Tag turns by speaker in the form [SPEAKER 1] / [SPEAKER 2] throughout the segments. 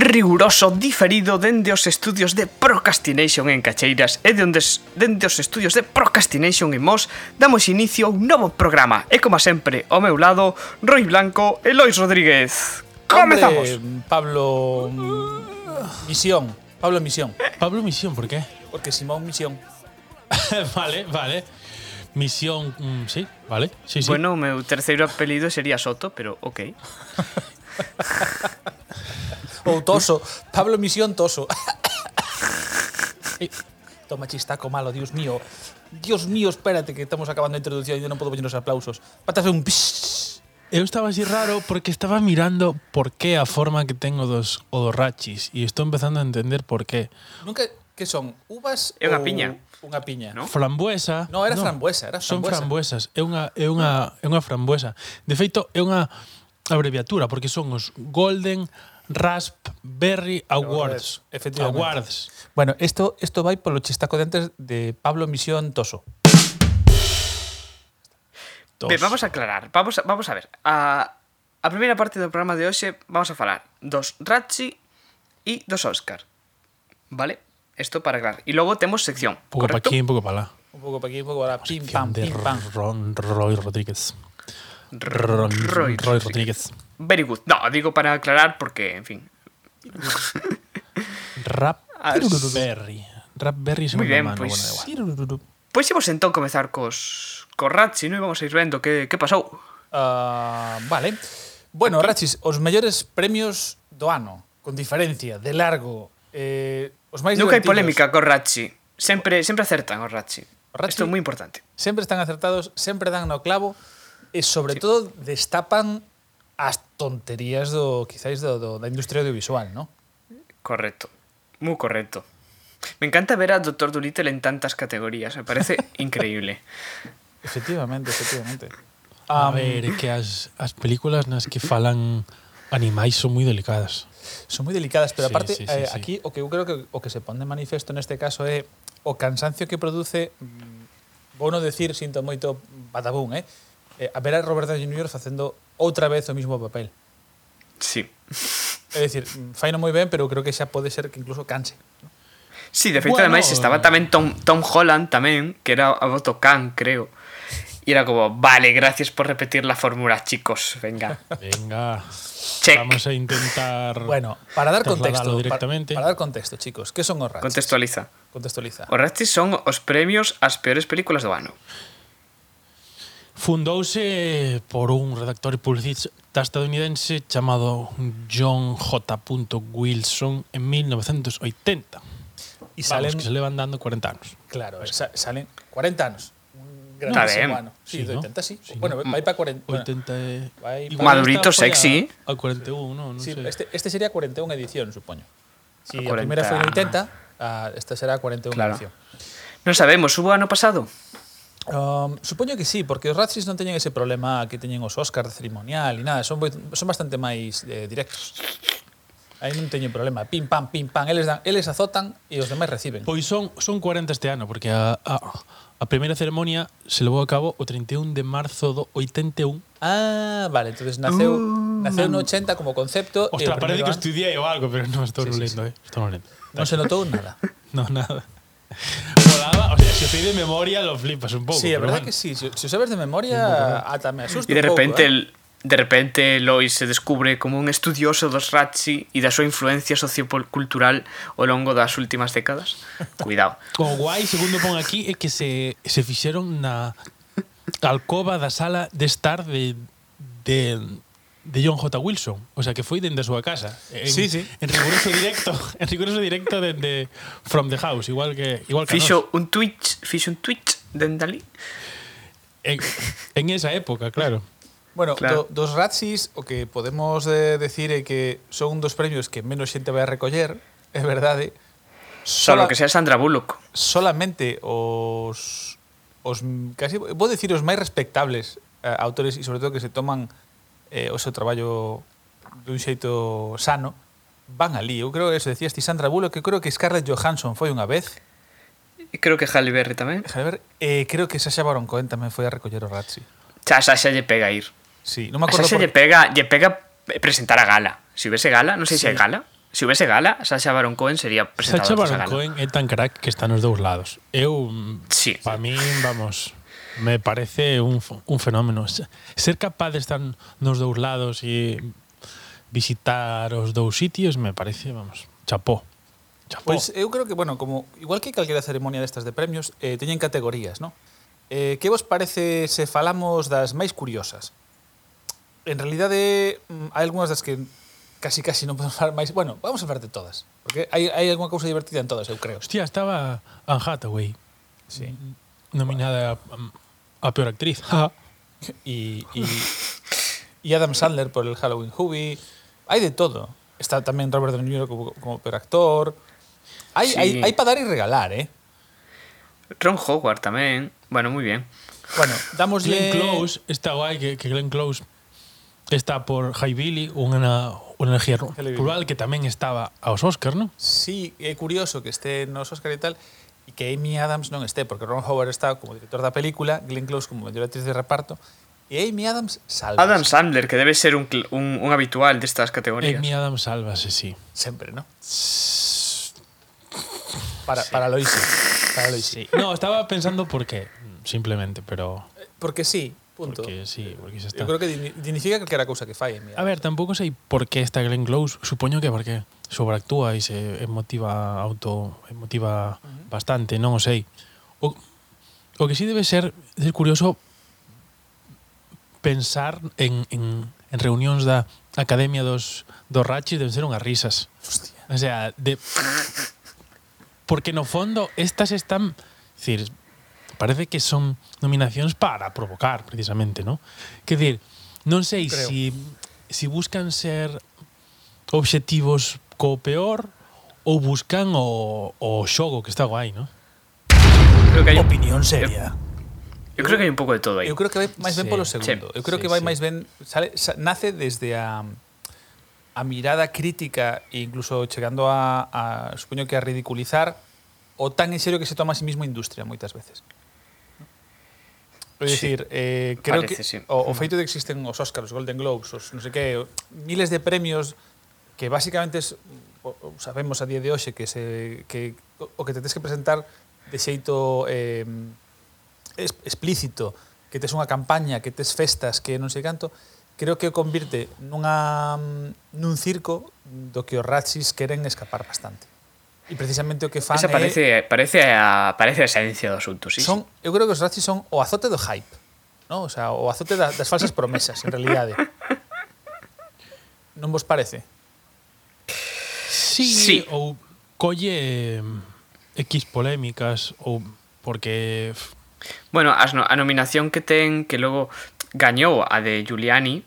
[SPEAKER 1] Imos ao diferido dende os estudios de Procrastination en Cacheiras e dende, os- dende os estudios de Procrastination en Mos damos inicio a un novo programa e como sempre ao meu lado Roy Blanco e Lois Rodríguez. Comezamos.
[SPEAKER 2] Hombre, Pablo mm, Misión. Pablo Misión.
[SPEAKER 3] Pablo Misión, ¿por qué?
[SPEAKER 2] Porque Simón Misión.
[SPEAKER 3] vale, vale. Misión, mm, sí, vale. Sí, sí.
[SPEAKER 1] Bueno, o meu terceiro apelido sería Soto, pero ok.
[SPEAKER 2] Ou Toso. Pablo Misión Toso. Ei, Toma chistaco malo, Dios mío. Dios mío, espérate que estamos acabando a introducción e eu non podo poñer os aplausos. Vate a hacer un psh.
[SPEAKER 3] Eu estaba así raro porque estaba mirando por qué a forma que tengo dos odorrachis y estoy empezando a entender por qué.
[SPEAKER 2] Nunca que son uvas
[SPEAKER 1] É unha
[SPEAKER 2] ou
[SPEAKER 1] piña.
[SPEAKER 2] Unha piña.
[SPEAKER 1] No?
[SPEAKER 3] Frambuesa.
[SPEAKER 2] No, era frambuesa, era
[SPEAKER 3] Son
[SPEAKER 2] frambuesa.
[SPEAKER 3] frambuesas, é unha é unha é unha frambuesa. De feito, é unha abreviatura porque son os Golden Raspberry Awards.
[SPEAKER 2] Efectivamente.
[SPEAKER 3] Awards.
[SPEAKER 2] Bueno, esto esto vai polo chistaco de antes de Pablo Misión Toso.
[SPEAKER 3] Dos.
[SPEAKER 1] Be, vamos a aclarar, vamos a, vamos a ver. A, a primeira parte do programa de hoxe vamos a falar dos Ratchi e dos Oscar. Vale? Isto para aclarar. E logo temos sección,
[SPEAKER 3] Un pouco para
[SPEAKER 1] correcto?
[SPEAKER 3] aquí, un pouco para lá.
[SPEAKER 2] Un pouco para aquí, un pouco para lá. Pim,
[SPEAKER 3] Sección
[SPEAKER 2] pam,
[SPEAKER 3] de
[SPEAKER 2] pim, pam.
[SPEAKER 3] Ron Roy Rodríguez.
[SPEAKER 1] Ro-
[SPEAKER 3] Ron
[SPEAKER 1] Roy
[SPEAKER 3] Roy
[SPEAKER 1] Rodríguez.
[SPEAKER 3] Rodríguez.
[SPEAKER 1] Very good. No, digo para aclarar porque, en fin.
[SPEAKER 3] Raspberry. Raspberry es
[SPEAKER 1] Ah, Muy
[SPEAKER 3] un
[SPEAKER 1] bien,
[SPEAKER 3] humano,
[SPEAKER 1] pues,
[SPEAKER 3] bueno, da igual.
[SPEAKER 1] Pois imos entón comezar cos, cos Ratchi, non? E vamos a ir vendo que, que pasou.
[SPEAKER 2] Ah, vale. Bueno, Rachis, os mellores premios do ano, con diferencia, de largo, eh, os máis
[SPEAKER 1] Nunca hai
[SPEAKER 2] divertidos,
[SPEAKER 1] polémica cos Ratchi. Sempre, sempre acertan os Ratchi.
[SPEAKER 2] Ratchi-
[SPEAKER 1] Isto é moi importante.
[SPEAKER 2] Sempre están acertados, sempre dan no clavo e sobre sí. todo destapan as tonterías do quizáis do, do da industria audiovisual, ¿no?
[SPEAKER 1] Correcto. Muy correcto. Me encanta ver a Doctor Dolittle en tantas categorías. Me parece increíble.
[SPEAKER 2] Efectivamente, efectivamente.
[SPEAKER 3] A
[SPEAKER 2] Um,
[SPEAKER 3] ver, é que as, as películas nas que falan animais son moi delicadas.
[SPEAKER 2] son moi delicadas, pero
[SPEAKER 3] Sí,
[SPEAKER 2] aparte
[SPEAKER 3] sí, sí,
[SPEAKER 2] eh,
[SPEAKER 3] sí.
[SPEAKER 2] aquí o que eu creo que o que se pon de manifesto neste caso é o cansancio que produce mm, vou non decir, sinto moito batabún, eh? eh a ver a Robert Downey Jr. facendo outra vez o mismo papel.
[SPEAKER 1] Sí.
[SPEAKER 2] É dicir, mm, faino moi ben, pero creo que xa pode ser que incluso canse.
[SPEAKER 1] Sí, de feito,
[SPEAKER 3] Bueno.
[SPEAKER 1] ademais, estaba tamén Tom, Tom Holland tamén, que era a voto can, creo. Y era como, vale, gracias por repetir la fórmula, chicos. Venga,
[SPEAKER 3] Venga,
[SPEAKER 1] check.
[SPEAKER 3] vamos a intentar...
[SPEAKER 2] Bueno, para dar contexto,
[SPEAKER 3] Trasladalo
[SPEAKER 2] para,
[SPEAKER 3] directamente.
[SPEAKER 2] para dar contexto, chicos, que son os Ratchis?
[SPEAKER 1] Contextualiza.
[SPEAKER 2] Contextualiza.
[SPEAKER 1] Os Razzies son os premios ás peores películas do ano.
[SPEAKER 3] Fundouse por un redactor e publicista estadounidense chamado John J. Wilson en 1980.
[SPEAKER 2] E
[SPEAKER 3] Vamos,
[SPEAKER 2] salen,
[SPEAKER 3] que se levan dando 40 anos.
[SPEAKER 2] claro, sa, salen 40 anos. Un
[SPEAKER 1] Está
[SPEAKER 2] grandísimo
[SPEAKER 1] ben.
[SPEAKER 2] ano. Sí,
[SPEAKER 3] Sí,
[SPEAKER 2] do
[SPEAKER 3] ¿no?
[SPEAKER 2] 80 sí.
[SPEAKER 3] Sí,
[SPEAKER 2] bueno,
[SPEAKER 3] ¿no?
[SPEAKER 2] vai para 40. bueno,
[SPEAKER 3] 80 e...
[SPEAKER 2] vai
[SPEAKER 3] igual
[SPEAKER 2] pa-
[SPEAKER 1] Madurito
[SPEAKER 3] esta foi
[SPEAKER 1] sexy.
[SPEAKER 3] A, a 41, non
[SPEAKER 2] Sí,
[SPEAKER 3] sei.
[SPEAKER 2] este, este sería 41 edición, supoño. Si a,
[SPEAKER 1] 40.
[SPEAKER 2] primeira foi en 80, a, esta será 41
[SPEAKER 1] Ah. Claro.
[SPEAKER 2] edición.
[SPEAKER 1] Non sabemos, hubo ano pasado?
[SPEAKER 2] Um, supoño que sí, porque os Razzies non teñen ese problema que teñen os Oscars de cerimonial e nada, son, boi- son bastante máis eh, directos. Aí non teñen problema, pim pam, pim pam, eles, dan, eles azotan e os demais reciben.
[SPEAKER 3] Pois Pues son, son 40 este ano, porque a, a, a primeira ceremonia se levou a cabo o 31 de marzo do 81.
[SPEAKER 2] Ah, vale, entonces naceu, naceu no 80 como concepto e o
[SPEAKER 3] Ostras, Uh. parece
[SPEAKER 2] primeiro
[SPEAKER 3] que
[SPEAKER 2] ano
[SPEAKER 3] estudiei ou algo, pero non estou
[SPEAKER 2] Sí,
[SPEAKER 3] sí,
[SPEAKER 2] sí,
[SPEAKER 3] lendo, eh. Estou lendo.
[SPEAKER 2] non se notou nada.
[SPEAKER 3] No, nada. Volaba, o sea, se pide memoria, lo flipas un pouco.
[SPEAKER 2] sí, é
[SPEAKER 3] pero
[SPEAKER 2] verdad
[SPEAKER 3] bueno.
[SPEAKER 2] que sí, se, se o sabes de memoria, ata me asusta
[SPEAKER 1] E de
[SPEAKER 2] un pouco,
[SPEAKER 1] repente
[SPEAKER 2] eh.
[SPEAKER 1] el, de repente Lois se descubre como un estudioso dos Ratzi e da súa influencia sociocultural ao longo das últimas décadas. Cuidado.
[SPEAKER 3] O guai, segundo pon aquí, é que se, se fixeron na alcoba da sala de estar de, de, de John J. Wilson. O sea, que foi dende a súa casa. En,
[SPEAKER 2] Sí, sí.
[SPEAKER 3] En riguroso directo, en riguroso directo dende From the House, igual que igual que a nós.
[SPEAKER 1] Fixo un Twitch, fixo un Twitch dende ali.
[SPEAKER 3] En, en esa época, claro.
[SPEAKER 2] Bueno,
[SPEAKER 1] Claro.
[SPEAKER 2] do, dos Razzies, o que podemos eh, decir é que son un dos premios que menos xente vai a recoller, é verdade.
[SPEAKER 1] Solo que sea Sandra Bullock.
[SPEAKER 2] Solamente os os m- casi vou dicir os máis respectables eh, autores e sobre todo que se toman eh, o seu traballo dun xeito sano van ali. Eu creo que eso decías ti Sandra Bullock, que creo que Scarlett Johansson foi unha vez.
[SPEAKER 1] E creo que Halle Berry tamén.
[SPEAKER 2] Déjame ver, eh, creo que Sacha Baron Cohen tamén foi a recoller o Razzie.
[SPEAKER 1] Xa, xa, xa lle pega ir.
[SPEAKER 2] Sí, non
[SPEAKER 1] A
[SPEAKER 2] me
[SPEAKER 1] xa
[SPEAKER 2] acordo
[SPEAKER 1] xa lle pega, lle pega presentar a gala. Se si houvese gala, non sei se
[SPEAKER 2] Sí.
[SPEAKER 1] hai gala. se houvese gala, Sacha Baron Cohen sería presentadora
[SPEAKER 3] Sacha
[SPEAKER 1] desa
[SPEAKER 3] Baron
[SPEAKER 1] gala.
[SPEAKER 3] Cohen é tan crack que está nos dous lados. Eu,
[SPEAKER 1] Sí.
[SPEAKER 3] para mí, vamos, me parece un, f- un fenómeno. Se- Ser capaz de estar nos dous lados e visitar os dous sitios me parece, vamos, chapó. Chapó.
[SPEAKER 2] Pois eu creo que, bueno, como igual que calquera ceremonia destas de premios, eh, teñen categorías, non? Eh, que vos parece se falamos das máis curiosas? En realidade, mm, hai algunhas das que casi casi non podemos falar máis. Bueno, vamos a falar de todas, porque hai, hai alguna cousa divertida en todas, eu creo.
[SPEAKER 3] Hostia, estaba Anne Hathaway
[SPEAKER 2] Sí.
[SPEAKER 3] nominada a, a peor actriz. Ja.
[SPEAKER 2] E, e, e Adam Sandler por el Halloween Hubby. Hai de todo. Está tamén Robert De Niro como, como peor actor. Hai,
[SPEAKER 1] Sí.
[SPEAKER 2] sí. hai, hai para dar e regalar, eh?
[SPEAKER 1] Ron Howard tamén. Bueno, moi bien.
[SPEAKER 2] Bueno, damoslle...
[SPEAKER 3] Glenn Close está guai que, que Glenn Close está por High Billy, unha, unha energía ru-
[SPEAKER 2] High Billy.
[SPEAKER 3] rural que tamén estaba aos Oscars, non?
[SPEAKER 2] Sí, é curioso que este nos Oscar e tal e que Amy Adams non esté, porque Ron Howard está como director da película, Glenn Close como mellor actriz de reparto, e Amy Adams salva.
[SPEAKER 1] Adam Sandler, que debe ser un, cl- un, un habitual destas categorías.
[SPEAKER 3] Amy Adams sálvase, sí.
[SPEAKER 2] Sempre, ¿no? Para, para Loisi. Para Loisi.
[SPEAKER 3] No, estaba pensando por qué, simplemente, pero
[SPEAKER 2] Porque sí, punto.
[SPEAKER 3] porque sí, porque xa está.
[SPEAKER 2] Eu creo que digni- dignifica calquera cousa que fai Amy
[SPEAKER 3] A
[SPEAKER 2] Adams.
[SPEAKER 3] ver, tampouco sei por qué está Glenn Close, supoño que porque sobreactúa e se emotiva auto, emotiva bastante, non o sei. O, o que sí debe ser, ser curioso pensar en, en, en reunións da Academia dos, dos Rachis deben ser unhas risas.
[SPEAKER 2] Hostia.
[SPEAKER 3] O sea, de... Porque no fondo estas están... es Decir, parece que son nominacións para provocar, precisamente, ¿no? Que decir, non sei
[SPEAKER 2] Creo.
[SPEAKER 3] si, si buscan ser obxectivos co peor ou buscan o, o xogo que está guai, ¿no?
[SPEAKER 1] Creo que hai un-
[SPEAKER 2] Opinión seria.
[SPEAKER 1] eu creo que hai un pouco de todo aí.
[SPEAKER 2] Eu creo que vai máis ben
[SPEAKER 3] Sí.
[SPEAKER 2] polo
[SPEAKER 1] Sí.
[SPEAKER 2] segundo. Eu creo
[SPEAKER 3] Sí,
[SPEAKER 2] que vai
[SPEAKER 3] sí.
[SPEAKER 2] máis ben sale sa- nace desde a a mirada crítica e incluso chegando a, a supoño que a ridiculizar o tan en serio que se toma a sí mesmo a industria moitas veces. É
[SPEAKER 1] Sí.
[SPEAKER 2] dicir, eh, creo
[SPEAKER 1] Parece,
[SPEAKER 2] que
[SPEAKER 1] sí.
[SPEAKER 2] o, o feito de que existen os Oscars, os Golden Globes, os non sei que, miles de premios que basicamente es, o- o sabemos a día de hoxe que se que o o que te tes que presentar de xeito eh, es, explícito, que tes unha campaña, que tes festas, que non sei canto, creo que o convirte nunha mm, nun circo do que os Ratsis queren escapar bastante. E precisamente o que fan
[SPEAKER 1] Esa
[SPEAKER 2] é-
[SPEAKER 1] parece, parece, a, parece a esencia do asunto, sí.
[SPEAKER 2] son, eu creo que os Razzies son o azote do hype, ¿no? O sea, o azote da, das falsas promesas, en realidade. Non vos parece?
[SPEAKER 3] Sí,
[SPEAKER 1] Sí.
[SPEAKER 3] ou colle eh, X polémicas ou porque f-
[SPEAKER 1] Bueno, as no- a nominación que ten que logo gañou a de Giuliani,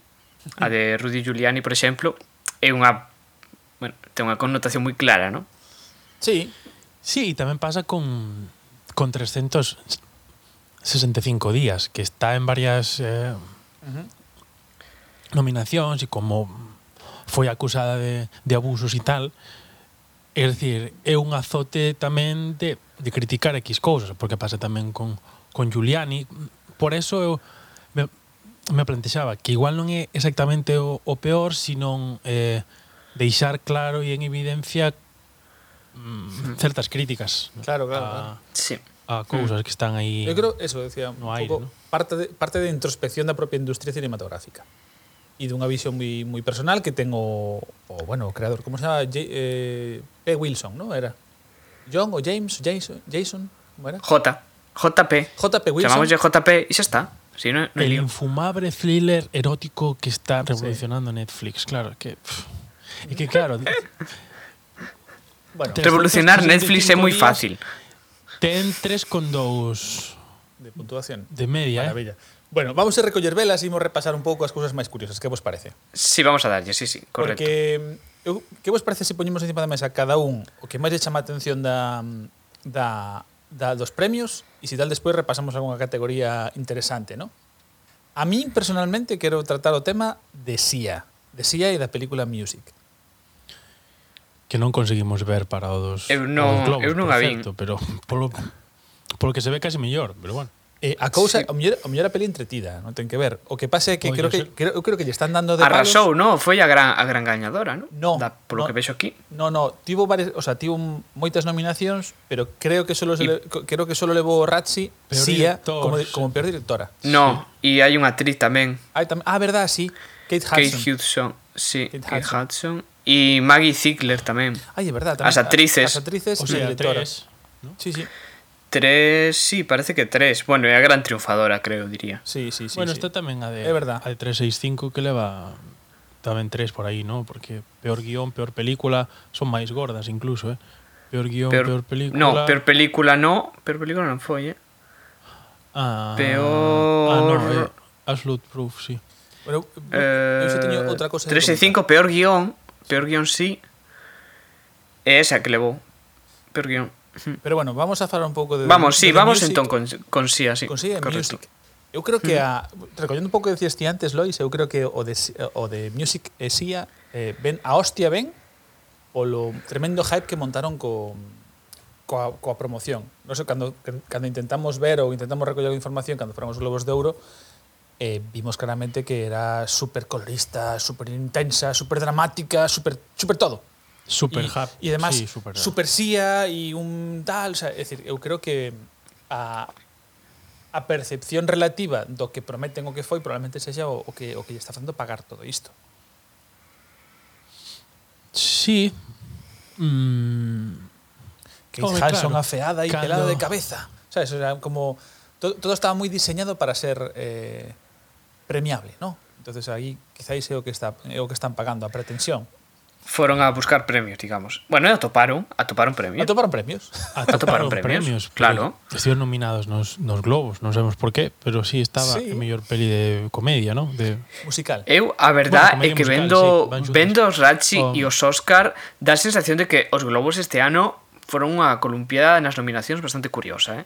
[SPEAKER 1] a de Rudy Giuliani, por exemplo, é unha bueno, ten unha connotación moi clara, non?
[SPEAKER 2] Sí,
[SPEAKER 3] Sí, e tamén pasa con con 365 días, que está en varias eh, nominacións e como foi acusada de, de abusos e tal, é dicir, é un azote tamén de, de criticar X cousas, porque pasa tamén con, con Giuliani. Por eso eu me, me plantexaba que igual non é exactamente o, o peor, sino eh, deixar claro e en evidencia mm, certas críticas
[SPEAKER 2] Claro, claro,
[SPEAKER 3] a,
[SPEAKER 2] claro.
[SPEAKER 1] Sí.
[SPEAKER 3] a cousas que están aí.
[SPEAKER 2] eu creo, eso, decía, un
[SPEAKER 3] No aire,
[SPEAKER 2] pouco
[SPEAKER 3] ¿no?
[SPEAKER 2] parte de, parte de introspección da propia industria cinematográfica e dunha visión moi moi personal que ten o, o bueno, o creador, como se chama? J, eh, P. Wilson, ¿no? Era John o James, Jason, Jason, como era?
[SPEAKER 1] J, JP.
[SPEAKER 2] J.P. Wilson.
[SPEAKER 1] Chamámoslle JP e xa está. Si non, non hai
[SPEAKER 3] El
[SPEAKER 1] lío.
[SPEAKER 3] infumable thriller erótico que está revolucionando Netflix, claro, que pff, e que claro,
[SPEAKER 2] Bueno,
[SPEAKER 3] Te-
[SPEAKER 1] Revolucionar Netflix é moi fácil.
[SPEAKER 3] ten 3,2
[SPEAKER 2] de puntuación.
[SPEAKER 3] de media, eh?
[SPEAKER 2] Maravilla. Bueno, vamos a recoller velas e imos repasar un pouco as cousas máis curiosas. Que vos parece?
[SPEAKER 1] Sí, vamos a darlle, sí, sí, correcto.
[SPEAKER 2] Porque eu, que vos parece se poñemos encima da mesa cada un o que máis lle chama a atención da, da, da dos premios e se tal despois repasamos algunha categoría interesante, ¿no? A min personalmente quero tratar o tema de Sia, de Sia e da película Music.
[SPEAKER 3] que non conseguimos ver para o dos,
[SPEAKER 1] Eu
[SPEAKER 3] o
[SPEAKER 1] non-
[SPEAKER 3] dos globos,
[SPEAKER 1] eu non a
[SPEAKER 3] por
[SPEAKER 1] vin.
[SPEAKER 3] certo, pero polo, polo que se ve casi mellor, pero bueno.
[SPEAKER 2] Eh, a cousa,
[SPEAKER 1] Sí. Pois
[SPEAKER 2] sí. a, mellor, a mellor a peli entretida, non ten que ver. O que pasa é que
[SPEAKER 3] Pode
[SPEAKER 2] creo que,
[SPEAKER 3] ser.
[SPEAKER 2] creo, eu creo que lle están dando de
[SPEAKER 1] Arrasou,
[SPEAKER 2] palos.
[SPEAKER 1] non? Foi a gran, a gran gañadora, non?
[SPEAKER 2] No,
[SPEAKER 1] Da, polo
[SPEAKER 2] no.
[SPEAKER 1] que vexo aquí.
[SPEAKER 2] No, no, tivo varias, o sea, tivo m- moitas nominacións, pero creo que solo se
[SPEAKER 1] Y-
[SPEAKER 2] le, co- creo que solo levou Razzi
[SPEAKER 3] Peor
[SPEAKER 2] Sia
[SPEAKER 3] director,
[SPEAKER 2] como, di-
[SPEAKER 3] sí.
[SPEAKER 2] como peor directora.
[SPEAKER 1] No, e hai unha actriz tamén,
[SPEAKER 2] Ai, tam, ah, verdad, sí. Kate
[SPEAKER 1] Kate
[SPEAKER 2] Hudson.
[SPEAKER 1] Hudson. Sí,
[SPEAKER 2] Kate
[SPEAKER 1] Kate Hudson. E Maggie Ziegler tamén.
[SPEAKER 2] Ai, é verdad,
[SPEAKER 1] As actrices.
[SPEAKER 2] As actrices e
[SPEAKER 3] O sea,
[SPEAKER 2] directora.
[SPEAKER 3] tres. ¿no?
[SPEAKER 2] Sí, sí.
[SPEAKER 1] Tres, sí, parece que tres. Bueno, é a gran triunfadora, creo, diría.
[SPEAKER 2] Sí, sí, sí. sí.
[SPEAKER 3] bueno, está tamén a de,
[SPEAKER 2] É verdad.
[SPEAKER 3] a de 365 que leva tamén tres por aí, ¿no? Porque peor guión, peor película, son máis gordas incluso, eh? Peor guión, peor, película...
[SPEAKER 1] No, peor película no. Peor película non foi, eh?
[SPEAKER 3] Ah,
[SPEAKER 1] peor-
[SPEAKER 3] Ah, no, eh, Absolute Proof, sí.
[SPEAKER 2] Bueno, eu- eu xa teño
[SPEAKER 1] Eh,
[SPEAKER 2] outra cosa. de
[SPEAKER 1] 3 e 5,
[SPEAKER 2] comentar.
[SPEAKER 1] peor guión. Peor guión sí. É esa que levou. Peor guión.
[SPEAKER 2] Pero bueno, vamos a falar un pouco de
[SPEAKER 1] Vamos, sí,
[SPEAKER 2] de The
[SPEAKER 1] vamos
[SPEAKER 2] Music.
[SPEAKER 1] entón con, con sí, así.
[SPEAKER 2] Consigue
[SPEAKER 1] correcto.
[SPEAKER 2] Music. Eu creo que a recollendo un pouco que decías ti antes, Lois, eu creo que o de Si- o de Music e Sia eh, ben a hostia ben polo tremendo hype que montaron co coa, coa promoción. Non sei cando cando intentamos ver ou intentamos recoller información cando foron os Globos de Ouro, eh, vimos claramente que era super colorista, super intensa, super dramática, super super todo.
[SPEAKER 3] Super
[SPEAKER 2] y,
[SPEAKER 3] Hub.
[SPEAKER 2] y además
[SPEAKER 3] sí,
[SPEAKER 2] super,
[SPEAKER 3] super,
[SPEAKER 2] SIA y un tal, o sea, es decir, eu creo que a a percepción relativa do que prometen o que foi probablemente sexa o, o que o que lle está facendo pagar todo isto.
[SPEAKER 3] Sí. Mm,
[SPEAKER 2] Que
[SPEAKER 3] Home,
[SPEAKER 2] Hudson
[SPEAKER 3] claro.
[SPEAKER 2] afeada e
[SPEAKER 3] Cando-
[SPEAKER 2] pelada de cabeza. Sabes, o sea, como to, todo estaba moi diseñado para ser eh, premiable, ¿no? Entonces aí quizáis é o que está é o que están pagando a pretensión.
[SPEAKER 1] Foron a buscar premios, digamos. Bueno, e atoparon, atoparon premios.
[SPEAKER 2] Atoparon premios.
[SPEAKER 1] Atoparon
[SPEAKER 3] atoparon
[SPEAKER 1] premios,
[SPEAKER 3] premios,
[SPEAKER 1] claro.
[SPEAKER 3] pero Estuvieron nominados nos, nos Globos, non sabemos por qué, pero sí estaba
[SPEAKER 2] Sí.
[SPEAKER 3] sí. a mellor peli de comedia, ¿no? De
[SPEAKER 2] Musical.
[SPEAKER 1] Eu, a verdad,
[SPEAKER 3] Bueno,
[SPEAKER 1] é que
[SPEAKER 3] comedia
[SPEAKER 1] vendo
[SPEAKER 3] musical, sí, van xuntas.
[SPEAKER 1] vendo os Ratchi
[SPEAKER 3] Oh.
[SPEAKER 1] e os Oscar dá a sensación de que os Globos este ano foron unha columpiada nas nominacións bastante curiosa, eh?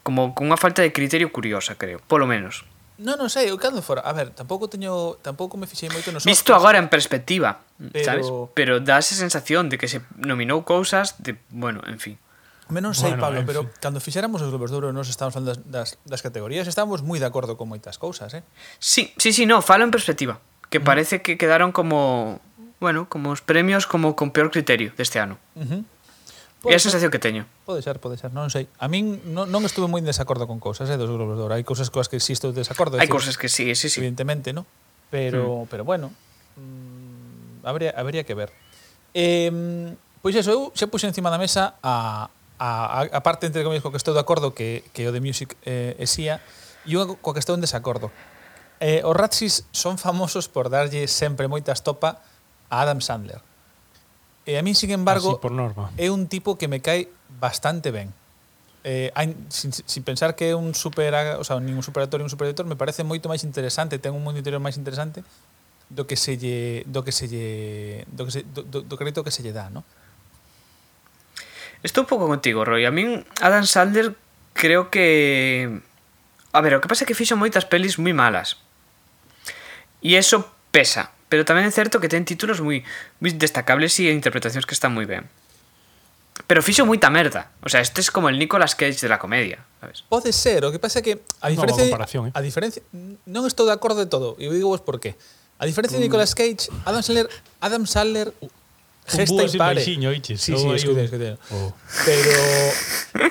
[SPEAKER 1] Como cunha falta de criterio curiosa, creo, polo menos.
[SPEAKER 2] Non, non sei, eu cando fora. A ver, tampouco teño tampouco me fixei moito nos
[SPEAKER 1] Visto
[SPEAKER 2] Oscars.
[SPEAKER 1] agora en perspectiva,
[SPEAKER 2] Pero-
[SPEAKER 1] sabes? Pero dá esa sensación de que se nominou cousas de, bueno, en fin.
[SPEAKER 2] Menos sei,
[SPEAKER 3] Bueno,
[SPEAKER 2] Pablo,
[SPEAKER 3] en
[SPEAKER 2] pero
[SPEAKER 3] fin.
[SPEAKER 2] cando fixéramos os Globos de Ouro nos estábamos falando das, das, das categorías, estábamos moi de acordo con moitas cousas, eh?
[SPEAKER 1] Sí, sí, sí, no, falo en perspectiva, que parece que quedaron como, bueno, como os premios como con peor criterio deste ano.
[SPEAKER 2] Uh -huh.
[SPEAKER 1] É a
[SPEAKER 2] pode, ser,
[SPEAKER 1] sensación que teño.
[SPEAKER 2] pode ser, pode ser, non sei. A min non, non estuve moi en desacordo con cousas, eh, dos Globos de Ouro. Hai cousas coas que pues sí estou en desacordo, é
[SPEAKER 1] Hai
[SPEAKER 2] dicir,
[SPEAKER 1] cousas que sí, sí, sí.
[SPEAKER 2] evidentemente, ¿no? Pero, pero bueno, mm, habría, habría que ver. Eh, pois eso, eu xa puxen encima da mesa a, a, a parte entre comillas co que estou de acordo que, que o de Music eh, e SIA e unha co que estou en desacordo. Eh, os Ratsis son famosos por darlle sempre moita estopa a Adam Sandler. E a min, sin
[SPEAKER 1] Ah,
[SPEAKER 2] embargo, eh,
[SPEAKER 3] así por norma.
[SPEAKER 2] é un tipo que me cae bastante ben. Eh, ain- sin, sin pensar que é un super, o sea, nin un superactor, nin un superdirector, me parece moito máis interesante, ten un mundo interior máis interesante do que se lle do que se lle do que se, do, do, do crédito que se lle dá, ¿no?
[SPEAKER 1] Estou un pouco contigo, Roy. A min Adam Sandler creo que A ver, o que pasa é que fixo moitas pelis moi malas. E eso pesa, pero tamén é certo que ten títulos moi moi destacables e interpretacións que están moi ben. Pero fixo moita merda. O sea, este es como el Nicolas Cage de la comedia, sabes?
[SPEAKER 2] Pode ser, o que pasa é que a
[SPEAKER 3] Unha boa
[SPEAKER 2] diferencia
[SPEAKER 3] comparación, eh.
[SPEAKER 2] a diferencia non estou de acordo de todo, e eu digo vos por qué. A diferencia de Nicolas Cage, Adam Sandler, Adam Sandler gesta
[SPEAKER 3] Mm. búho
[SPEAKER 2] e
[SPEAKER 3] sin
[SPEAKER 2] pare.
[SPEAKER 3] baixinho, oiches.
[SPEAKER 2] Sí, sí,
[SPEAKER 3] Ou hai
[SPEAKER 2] escutei,
[SPEAKER 3] un-
[SPEAKER 2] escutei.
[SPEAKER 3] Oh.
[SPEAKER 2] Pero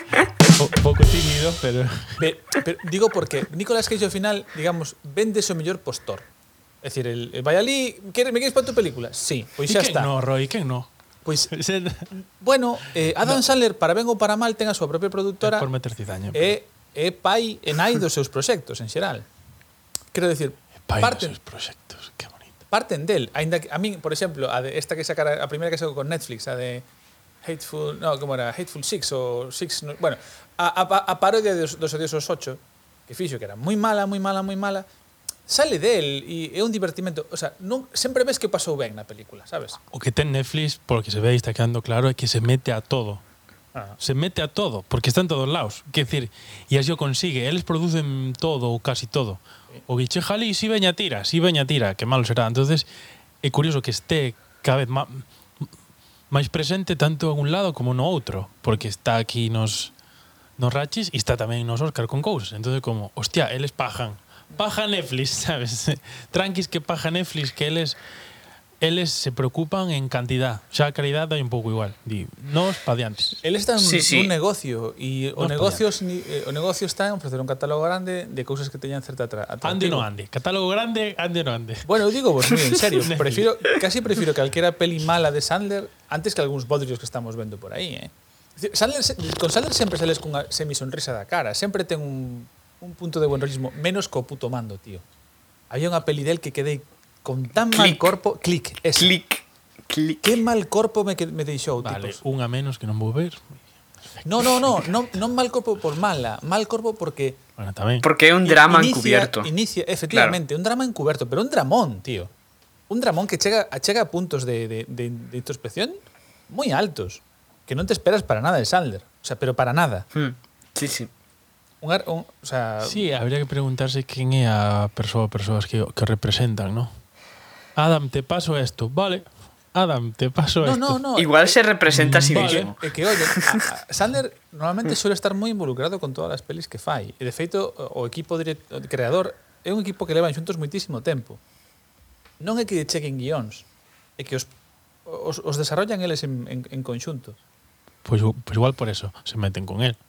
[SPEAKER 3] Un pouco tímido, pero...
[SPEAKER 2] Pe- pero digo porque Nicolas Cage ao final, digamos, vende o mellor postor. É dicir, el, el vai ali, quere, me queres para tu película? Sí, pois xa
[SPEAKER 3] ¿Y
[SPEAKER 2] Pues
[SPEAKER 3] quen
[SPEAKER 2] está.
[SPEAKER 3] No, Roy, quen no?
[SPEAKER 2] Pois,
[SPEAKER 3] Ese-
[SPEAKER 2] bueno, eh, Adam no. Sandler, para ben ou para mal, ten a súa propia productora
[SPEAKER 3] por meter cizaña.
[SPEAKER 2] e é pai e nai dos seus proxectos, en xeral. Quero decir,
[SPEAKER 3] Pai
[SPEAKER 2] parten,
[SPEAKER 3] dos seus proxectos, que bonito.
[SPEAKER 2] parten del. Ainda que, a min, por exemplo, a de esta que sacara, a primeira que sacou con Netflix, a de Hateful, no, como era? Hateful Six o Six, no, bueno, a, a, pa- a parodia dos, dos odiosos ocho, que fixo que era moi mala, moi mala, moi mala, sale del e é un divertimento, o sea, non, sempre ves que pasou ben na película, sabes?
[SPEAKER 3] O que ten Netflix, polo que se ve e está quedando claro, é que se mete a todo.
[SPEAKER 2] Ah.
[SPEAKER 3] Se mete a todo, porque está en todos lados. Quer decir, e así o consigue. Eles producen todo ou casi todo. O biche jali, si veña tira, si veña tira, que malo será. entonces é curioso que este cada vez má- máis presente tanto en un lado como no outro, porque está aquí nos nos Rachis e está tamén nos Óscar con cousas. Entonces como, hostia, eles pajan. Paja Netflix, sabes? Tranquis que paja Netflix, que eles eles se preocupan en cantidad. Xa a calidad dai un pouco igual. Di, nos pa diante.
[SPEAKER 2] Él está en
[SPEAKER 1] Sí, sí.
[SPEAKER 2] un negocio e o
[SPEAKER 3] Non
[SPEAKER 2] negocio, ni- eh, o negocio está en ofrecer un catálogo grande de cousas que teñan certa atra atractivo.
[SPEAKER 3] Ande no ande. Catálogo grande, ande no ande.
[SPEAKER 2] Bueno, eu digo vos, mira, en serio,
[SPEAKER 3] Netflix.
[SPEAKER 2] prefiro, casi prefiro calquera peli mala de Sandler antes que algúns bodrios que estamos vendo por aí, eh. Es decir, Sandler, se- con Sandler sempre sales cunha semisonrisa da cara, sempre ten un, un punto de buen rollismo, menos co puto mando, tío. Había unha peli del que quedei con tan mal
[SPEAKER 1] Click.
[SPEAKER 2] corpo, click, esa.
[SPEAKER 1] Clic, clic.
[SPEAKER 2] Que mal corpo me, que, me deixou,
[SPEAKER 3] Vale,
[SPEAKER 2] tipos.
[SPEAKER 3] unha menos que non vou ver.
[SPEAKER 2] No, no, no, non, non mal corpo por mala, mal corpo porque
[SPEAKER 3] Bueno, tamén.
[SPEAKER 1] Porque é un
[SPEAKER 2] in-
[SPEAKER 1] drama
[SPEAKER 2] inicia-
[SPEAKER 1] encubierto.
[SPEAKER 2] Inicia, efectivamente, un drama encubierto, pero un dramón, tío. Un dramón que chega, achega a puntos de, de- de- de introspección muy altos, que no te esperas para nada de Sandler. O sea, pero para nada.
[SPEAKER 1] Hmm, Sí, sí.
[SPEAKER 2] Un ar- un- o sea,
[SPEAKER 3] Sí, habría que preguntarse quen é a persoa persoas que, que representan, ¿no? Adam, te paso esto. Vale. Adam, te paso
[SPEAKER 2] no,
[SPEAKER 3] esto.
[SPEAKER 2] no, eh, no.
[SPEAKER 1] Igual se representa a sí
[SPEAKER 3] Vale.
[SPEAKER 1] mismo.
[SPEAKER 2] É que, oye, a- a- Sandler normalmente suele estar moi involucrado con todas as pelis que fai. E, de feito, o o equipo direct, o creador é un equipo que levan xuntos moitísimo tempo. Non é que lle chequen guións, é que os, os, os desarrollan eles en, en, en conxunto.
[SPEAKER 3] Pois pues, igual por eso se meten con él.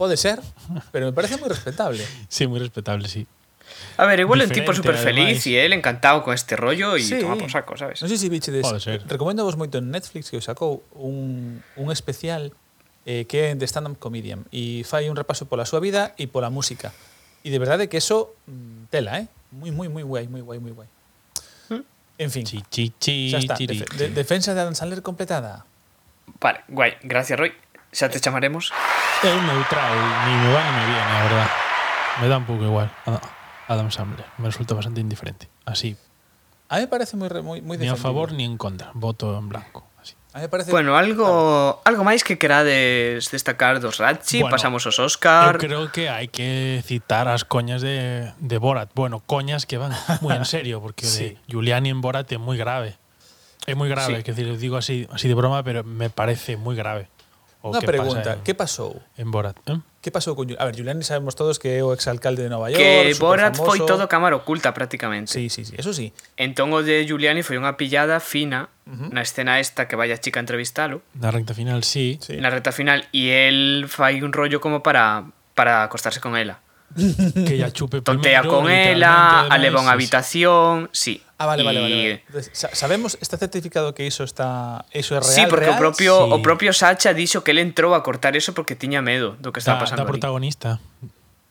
[SPEAKER 2] Pode ser, pero me parece moi respetable.
[SPEAKER 3] Sí, moi respetable, sí.
[SPEAKER 1] A ver, igual un tipo
[SPEAKER 3] Diferente,
[SPEAKER 1] súper feliz
[SPEAKER 3] además.
[SPEAKER 1] y él encantado con este rollo y toma por saco, ¿sabes?
[SPEAKER 2] Non sei se bichedes.
[SPEAKER 3] Pode ser.
[SPEAKER 2] Recomendo vos moito en Netflix que os sacou un, un especial eh, que é de stand-up comedian e fai un repaso pola súa vida e pola música. E de verdade que eso mm, tela, eh? Moi, moi, moi guai, moi guai, moi guai.
[SPEAKER 1] Hmm.
[SPEAKER 2] En fin,
[SPEAKER 3] Chi, chi, chi,
[SPEAKER 2] xa está.
[SPEAKER 3] chiri,
[SPEAKER 2] Defe- de- defensa de Adam Sandler completada.
[SPEAKER 1] Vale, guay. Gracias, Roy. Ya te chamaremos.
[SPEAKER 3] É un neutral, ni me va ni me viene, la verdad. Me da un pouco igual.
[SPEAKER 2] Ah.
[SPEAKER 3] Adam- Adam Sandler, me resulta bastante indiferente. Así,
[SPEAKER 2] A mí me parece moi re- moi moi
[SPEAKER 3] ni a
[SPEAKER 2] defendible.
[SPEAKER 3] favor ni en contra. Voto en blanco. Así.
[SPEAKER 2] A mí me parece
[SPEAKER 1] Bueno, algo algo máis que querades destacar dos Ratchi,
[SPEAKER 3] Bueno,
[SPEAKER 1] pasamos aos
[SPEAKER 3] Yo
[SPEAKER 1] Oscar.
[SPEAKER 3] creo que hay que citar las coñas de, de Borat. Bueno, coñas que van muy en serio, porque
[SPEAKER 2] Sí.
[SPEAKER 3] de Giuliani en Borat es muy grave. Es muy
[SPEAKER 1] Sí.
[SPEAKER 3] grave, es decir, lo digo así, así de broma, pero me parece muy grave.
[SPEAKER 2] unha
[SPEAKER 3] O Oh, qué pasa eh.
[SPEAKER 2] pregunta,
[SPEAKER 3] en-
[SPEAKER 2] que pasou?
[SPEAKER 3] En Borat. ¿eh?
[SPEAKER 2] Que pasou con Julián? A ver, Julián sabemos todos que é o exalcalde de Nova York,
[SPEAKER 1] que Borat
[SPEAKER 2] superfamoso.
[SPEAKER 1] foi todo cámara oculta prácticamente.
[SPEAKER 2] Sí, sí, sí, eso sí.
[SPEAKER 1] Entón o de Giuliani foi unha pillada fina na escena esta que vai a chica a entrevistalo
[SPEAKER 3] La recta final sí.
[SPEAKER 2] Sí.
[SPEAKER 1] na reta final e el fai un rollo como para para acostarse con ela.
[SPEAKER 3] Que ella chupe
[SPEAKER 1] Tontea
[SPEAKER 3] primero,
[SPEAKER 1] con
[SPEAKER 3] literalmente,
[SPEAKER 1] ela,
[SPEAKER 3] además,
[SPEAKER 1] aleva unha
[SPEAKER 3] sí, sí.
[SPEAKER 1] habitación, sí.
[SPEAKER 2] Ah, vale, vale,
[SPEAKER 1] E-
[SPEAKER 2] vale. vale. Entonces, sa- Sabemos, está certificado que iso está eso é real.
[SPEAKER 1] Sí, porque
[SPEAKER 2] real?
[SPEAKER 1] o propio
[SPEAKER 3] Sí.
[SPEAKER 1] o propio Sacha dixo que el entrou a cortar eso porque tiña medo do que
[SPEAKER 3] Da-
[SPEAKER 1] estaba pasando.
[SPEAKER 3] da
[SPEAKER 1] ali.
[SPEAKER 3] protagonista.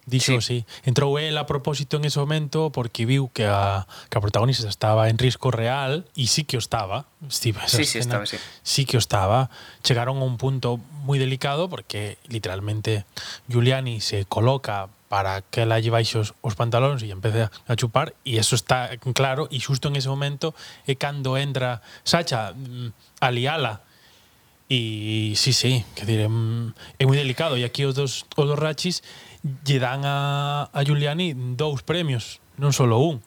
[SPEAKER 3] Dixo, sí. sí. Entrou el a propósito en ese momento porque viu que a, que a protagonista estaba en risco real e sí que o estaba. Sí,
[SPEAKER 1] Sí, sí, estaba, sí.
[SPEAKER 3] sí que o estaba. Chegaron a un punto moi delicado porque literalmente Giuliani se coloca para que la lleváis os, os pantalóns e empece a chupar e eso está claro e xusto en ese momento é cando entra Sacha mm, a liala E sí, sí, que dire, mm, é moi delicado e aquí os dos os dos rachis lle dan a a Giuliani dous premios, non só un.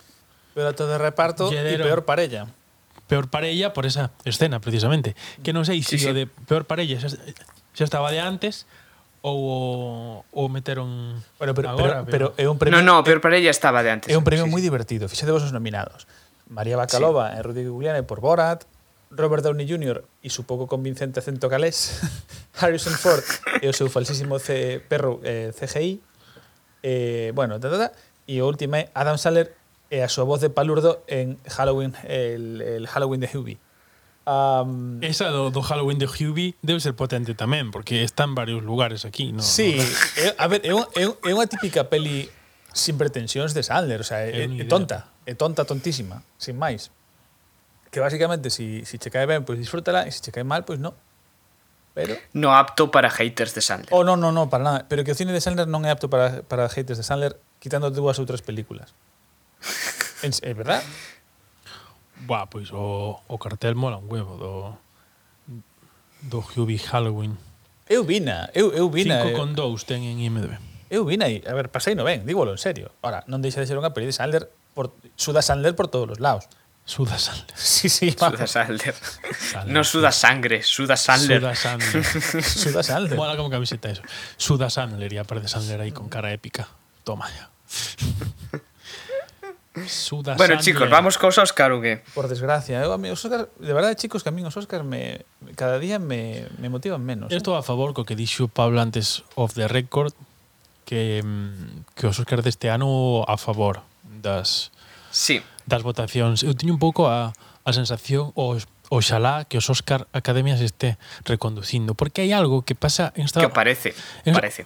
[SPEAKER 2] Peor acto de reparto e
[SPEAKER 3] Lledero.
[SPEAKER 2] peor parella.
[SPEAKER 3] Peor parella por esa escena precisamente, que non sei se
[SPEAKER 1] Sí, sí.
[SPEAKER 3] sí, o de peor parella xa, xa estaba de antes ou o, o meteron
[SPEAKER 2] Bueno, pero,
[SPEAKER 3] agora,
[SPEAKER 2] pero, pero, é un premio
[SPEAKER 1] No, no, peor para ella estaba de antes.
[SPEAKER 2] é un
[SPEAKER 1] Sí,
[SPEAKER 2] premio
[SPEAKER 1] sí.
[SPEAKER 2] moi divertido. Fíxate vos os nominados. María Bacalova sí. e Rudy Giuliani por Borat, Robert Downey Jr. e su pouco convincente acento galés, Harrison Ford e o seu falsísimo C perro eh, CGI. Eh, bueno, ta, ta, ta. e o último é Adam Sandler e a súa voz de palurdo en Halloween el, el Halloween de Hubie. Um,
[SPEAKER 3] esa do, do Halloween de Hubie debe ser potente tamén, porque está en varios lugares aquí, non?
[SPEAKER 2] Sí, é, a ver, é, un, é, un- é unha típica peli sin pretensións de Sandler, o sea, é,
[SPEAKER 3] É
[SPEAKER 2] é
[SPEAKER 3] unha idea.
[SPEAKER 2] tonta, é tonta tontísima, sin máis. Que basicamente si si che cae ben, pois pues disfrútala, e se che cae mal, pois pues no. Pero
[SPEAKER 1] No apto para haters de Sandler.
[SPEAKER 2] Oh, no, no, no, para nada, pero que o cine de Sandler non é apto para para haters de Sandler, quitando dúas outras películas. En, é verdad?
[SPEAKER 3] Buah, pois o, o cartel mola un huevo do do Hubie Halloween.
[SPEAKER 2] Eu vina, eu eu vina.
[SPEAKER 3] 5
[SPEAKER 2] eu-
[SPEAKER 3] con 2 ten en IMDb.
[SPEAKER 2] Eu vin aí, a ver, pasei no ben, dígolo en serio. Ahora, non deixa de ser unha peli de Sandler, por, suda Sandler por todos os lados.
[SPEAKER 3] Suda Sandler.
[SPEAKER 2] Sí, sí.
[SPEAKER 1] Suda Sandler. No suda sangre, suda Sandler.
[SPEAKER 3] Suda Sandler.
[SPEAKER 2] Suda Sandler.
[SPEAKER 3] Mola como camiseta eso. Suda Sandler y aparece Sandler ahí con cara épica. Toma ya. Suda
[SPEAKER 1] Bueno,
[SPEAKER 3] Sandler.
[SPEAKER 1] chicos, vamos con Oscar, ¿o qué?
[SPEAKER 2] Por desgracia, eu a mí os Óscar- de verdade, chicos, que a mí os Óscar me, cada día me, me motivan menos.
[SPEAKER 3] Esto a favor co que dixo Pablo antes of the record que, mm, que os Óscar deste ano a favor das,
[SPEAKER 1] Sí.
[SPEAKER 3] das votacións. Eu teño un pouco a, a sensación o oxalá que os Óscar Academia se este reconducindo, porque hai algo que pasa en
[SPEAKER 1] Que
[SPEAKER 3] esta,
[SPEAKER 1] parece,
[SPEAKER 3] Es-
[SPEAKER 1] parece.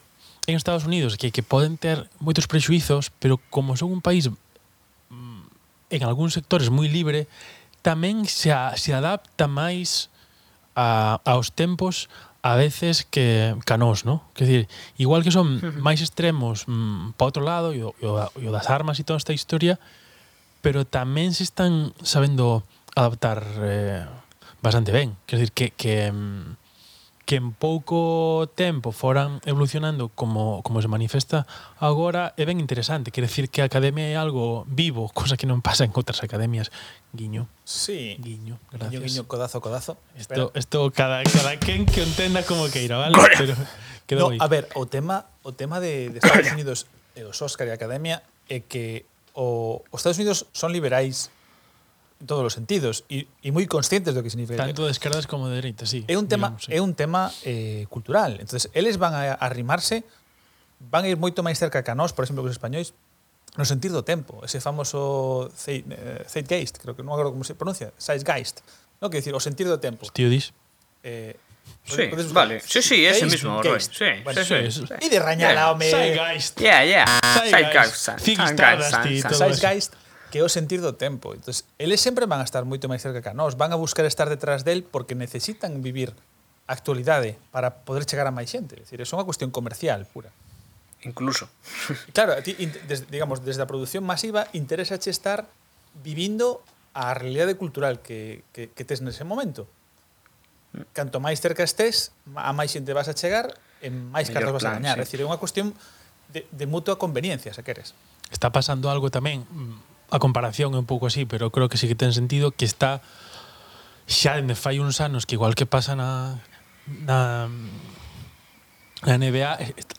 [SPEAKER 3] en Estados Unidos que, que poden ter moitos prexuizos, pero como son un país mm, en algúns sectores moi libre, tamén se, a, se adapta máis a, aos tempos a veces que canós, ¿no? Que decir, igual que son máis extremos mm, pa outro lado e o, e o, da- e o das armas e toda esta historia, pero tamén se están sabendo adaptar eh, bastante ben. Quer dizer, que, que, mm, que en pouco tempo foran evolucionando como, como se manifesta agora é ben interesante. Quer decir que a academia é algo vivo, cosa que non pasa en outras academias. Guiño,
[SPEAKER 2] Sí.
[SPEAKER 3] guiño,
[SPEAKER 2] Guiño,
[SPEAKER 3] gracias.
[SPEAKER 2] guiño, codazo, codazo.
[SPEAKER 3] Isto, isto cada, cada quen que o entenda como queira, vale?
[SPEAKER 1] Coño.
[SPEAKER 3] Pero queda
[SPEAKER 2] No,
[SPEAKER 3] no,
[SPEAKER 2] a ver, o tema, o tema de, de Estados Unidos e os Óscar e a Academia é que o, os Estados Unidos son liberais en todos os sentidos e, e moi conscientes do que significa.
[SPEAKER 3] Tanto de esquerdas como de dereitas, sí.
[SPEAKER 2] é un tema
[SPEAKER 3] digamos, sí.
[SPEAKER 2] é un tema eh, cultural. Entonces, eles van a arrimarse, van a ir moito máis cerca que a nós, por exemplo, que os españois, no sentir do tempo, ese famoso zei- eh, zeitgeist, creo que non acordo como se pronuncia, zeitgeist, no que decir, o sentir do tempo.
[SPEAKER 3] Tío, dis.
[SPEAKER 2] Eh,
[SPEAKER 1] Sí,
[SPEAKER 2] podes buscar.
[SPEAKER 1] vale. Sí, sí, ese
[SPEAKER 2] Zeitgeist,
[SPEAKER 1] mismo, Roy. Sí,
[SPEAKER 2] Bueno,
[SPEAKER 1] sí, sí.
[SPEAKER 3] sí,
[SPEAKER 2] E de rañala, home.
[SPEAKER 3] Zeitgeist.
[SPEAKER 1] Yeah, yeah.
[SPEAKER 3] Zeitgeist.
[SPEAKER 1] Zeitgeist.
[SPEAKER 3] Zeitgeist,
[SPEAKER 1] Zeitgeist.
[SPEAKER 3] tío, todo eso.
[SPEAKER 2] Zeitgeist que é o sentir do tempo. Entonces, eles sempre van a estar moito máis cerca que a nós, van a buscar estar detrás del porque necesitan vivir a actualidade para poder chegar a máis xente. É dicir, é unha cuestión comercial pura.
[SPEAKER 1] Incluso.
[SPEAKER 2] E Claro, a ti, in- des, digamos, desde a produción masiva, interesache estar vivindo a realidade cultural que, que, que tes nese momento. Canto máis cerca estés, ma- a máis xente vas a chegar, en máis cartas
[SPEAKER 1] Mellor
[SPEAKER 2] vas a
[SPEAKER 1] plan,
[SPEAKER 2] gañar.
[SPEAKER 1] sí.
[SPEAKER 2] É dicir, é unha cuestión de, de mutua conveniencia, se queres.
[SPEAKER 3] está pasando algo tamén mm, a comparación é un pouco así, pero creo que sí que ten sentido que está xa dende fai uns anos que igual que pasa na na, na NBA est-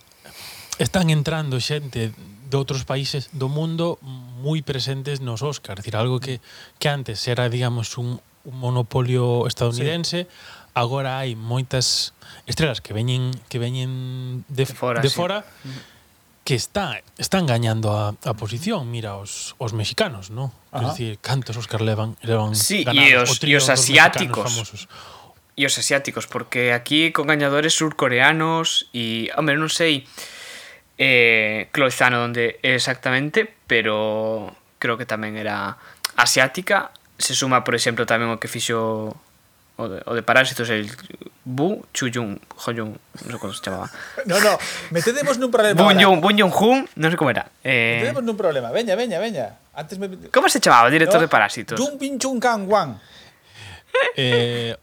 [SPEAKER 3] están entrando xente de outros países do mundo moi presentes nos Óscar, decir algo que que antes era, digamos, un, un monopolio estadounidense, sí. agora hai moitas estrelas que veñen que veñen de, de
[SPEAKER 1] fora,
[SPEAKER 3] fora, de
[SPEAKER 1] sí.
[SPEAKER 3] fora que está, están gañando a, a posición, mira, os, os mexicanos, ¿no?
[SPEAKER 2] Ajá.
[SPEAKER 3] Es decir, cantos Oscar levan, levan
[SPEAKER 1] Sí,
[SPEAKER 3] ganados,
[SPEAKER 1] y os-
[SPEAKER 3] o trío
[SPEAKER 1] y os
[SPEAKER 3] dos mexicanos
[SPEAKER 1] asiáticos.
[SPEAKER 3] famosos.
[SPEAKER 1] E os asiáticos, porque aquí con gañadores surcoreanos e, hombre, non sei eh, Cloizano onde é exactamente, pero creo que tamén era asiática. Se suma, por exemplo, tamén o que fixo o de, o de Parásitos, el Bu Chuyun, Hoyun, non sei como se chamaba.
[SPEAKER 2] No, no, metedemos nun problema.
[SPEAKER 1] Bun
[SPEAKER 2] ahora.
[SPEAKER 1] Yun, Bun Yun Hun, non sei como era. Eh,
[SPEAKER 2] Metedemos nun problema. Veña, veña, veña. Antes me... Director
[SPEAKER 1] como se chamaba o director de Parásitos?
[SPEAKER 2] Jun Bin Chun Kang Wang.
[SPEAKER 3] Eh,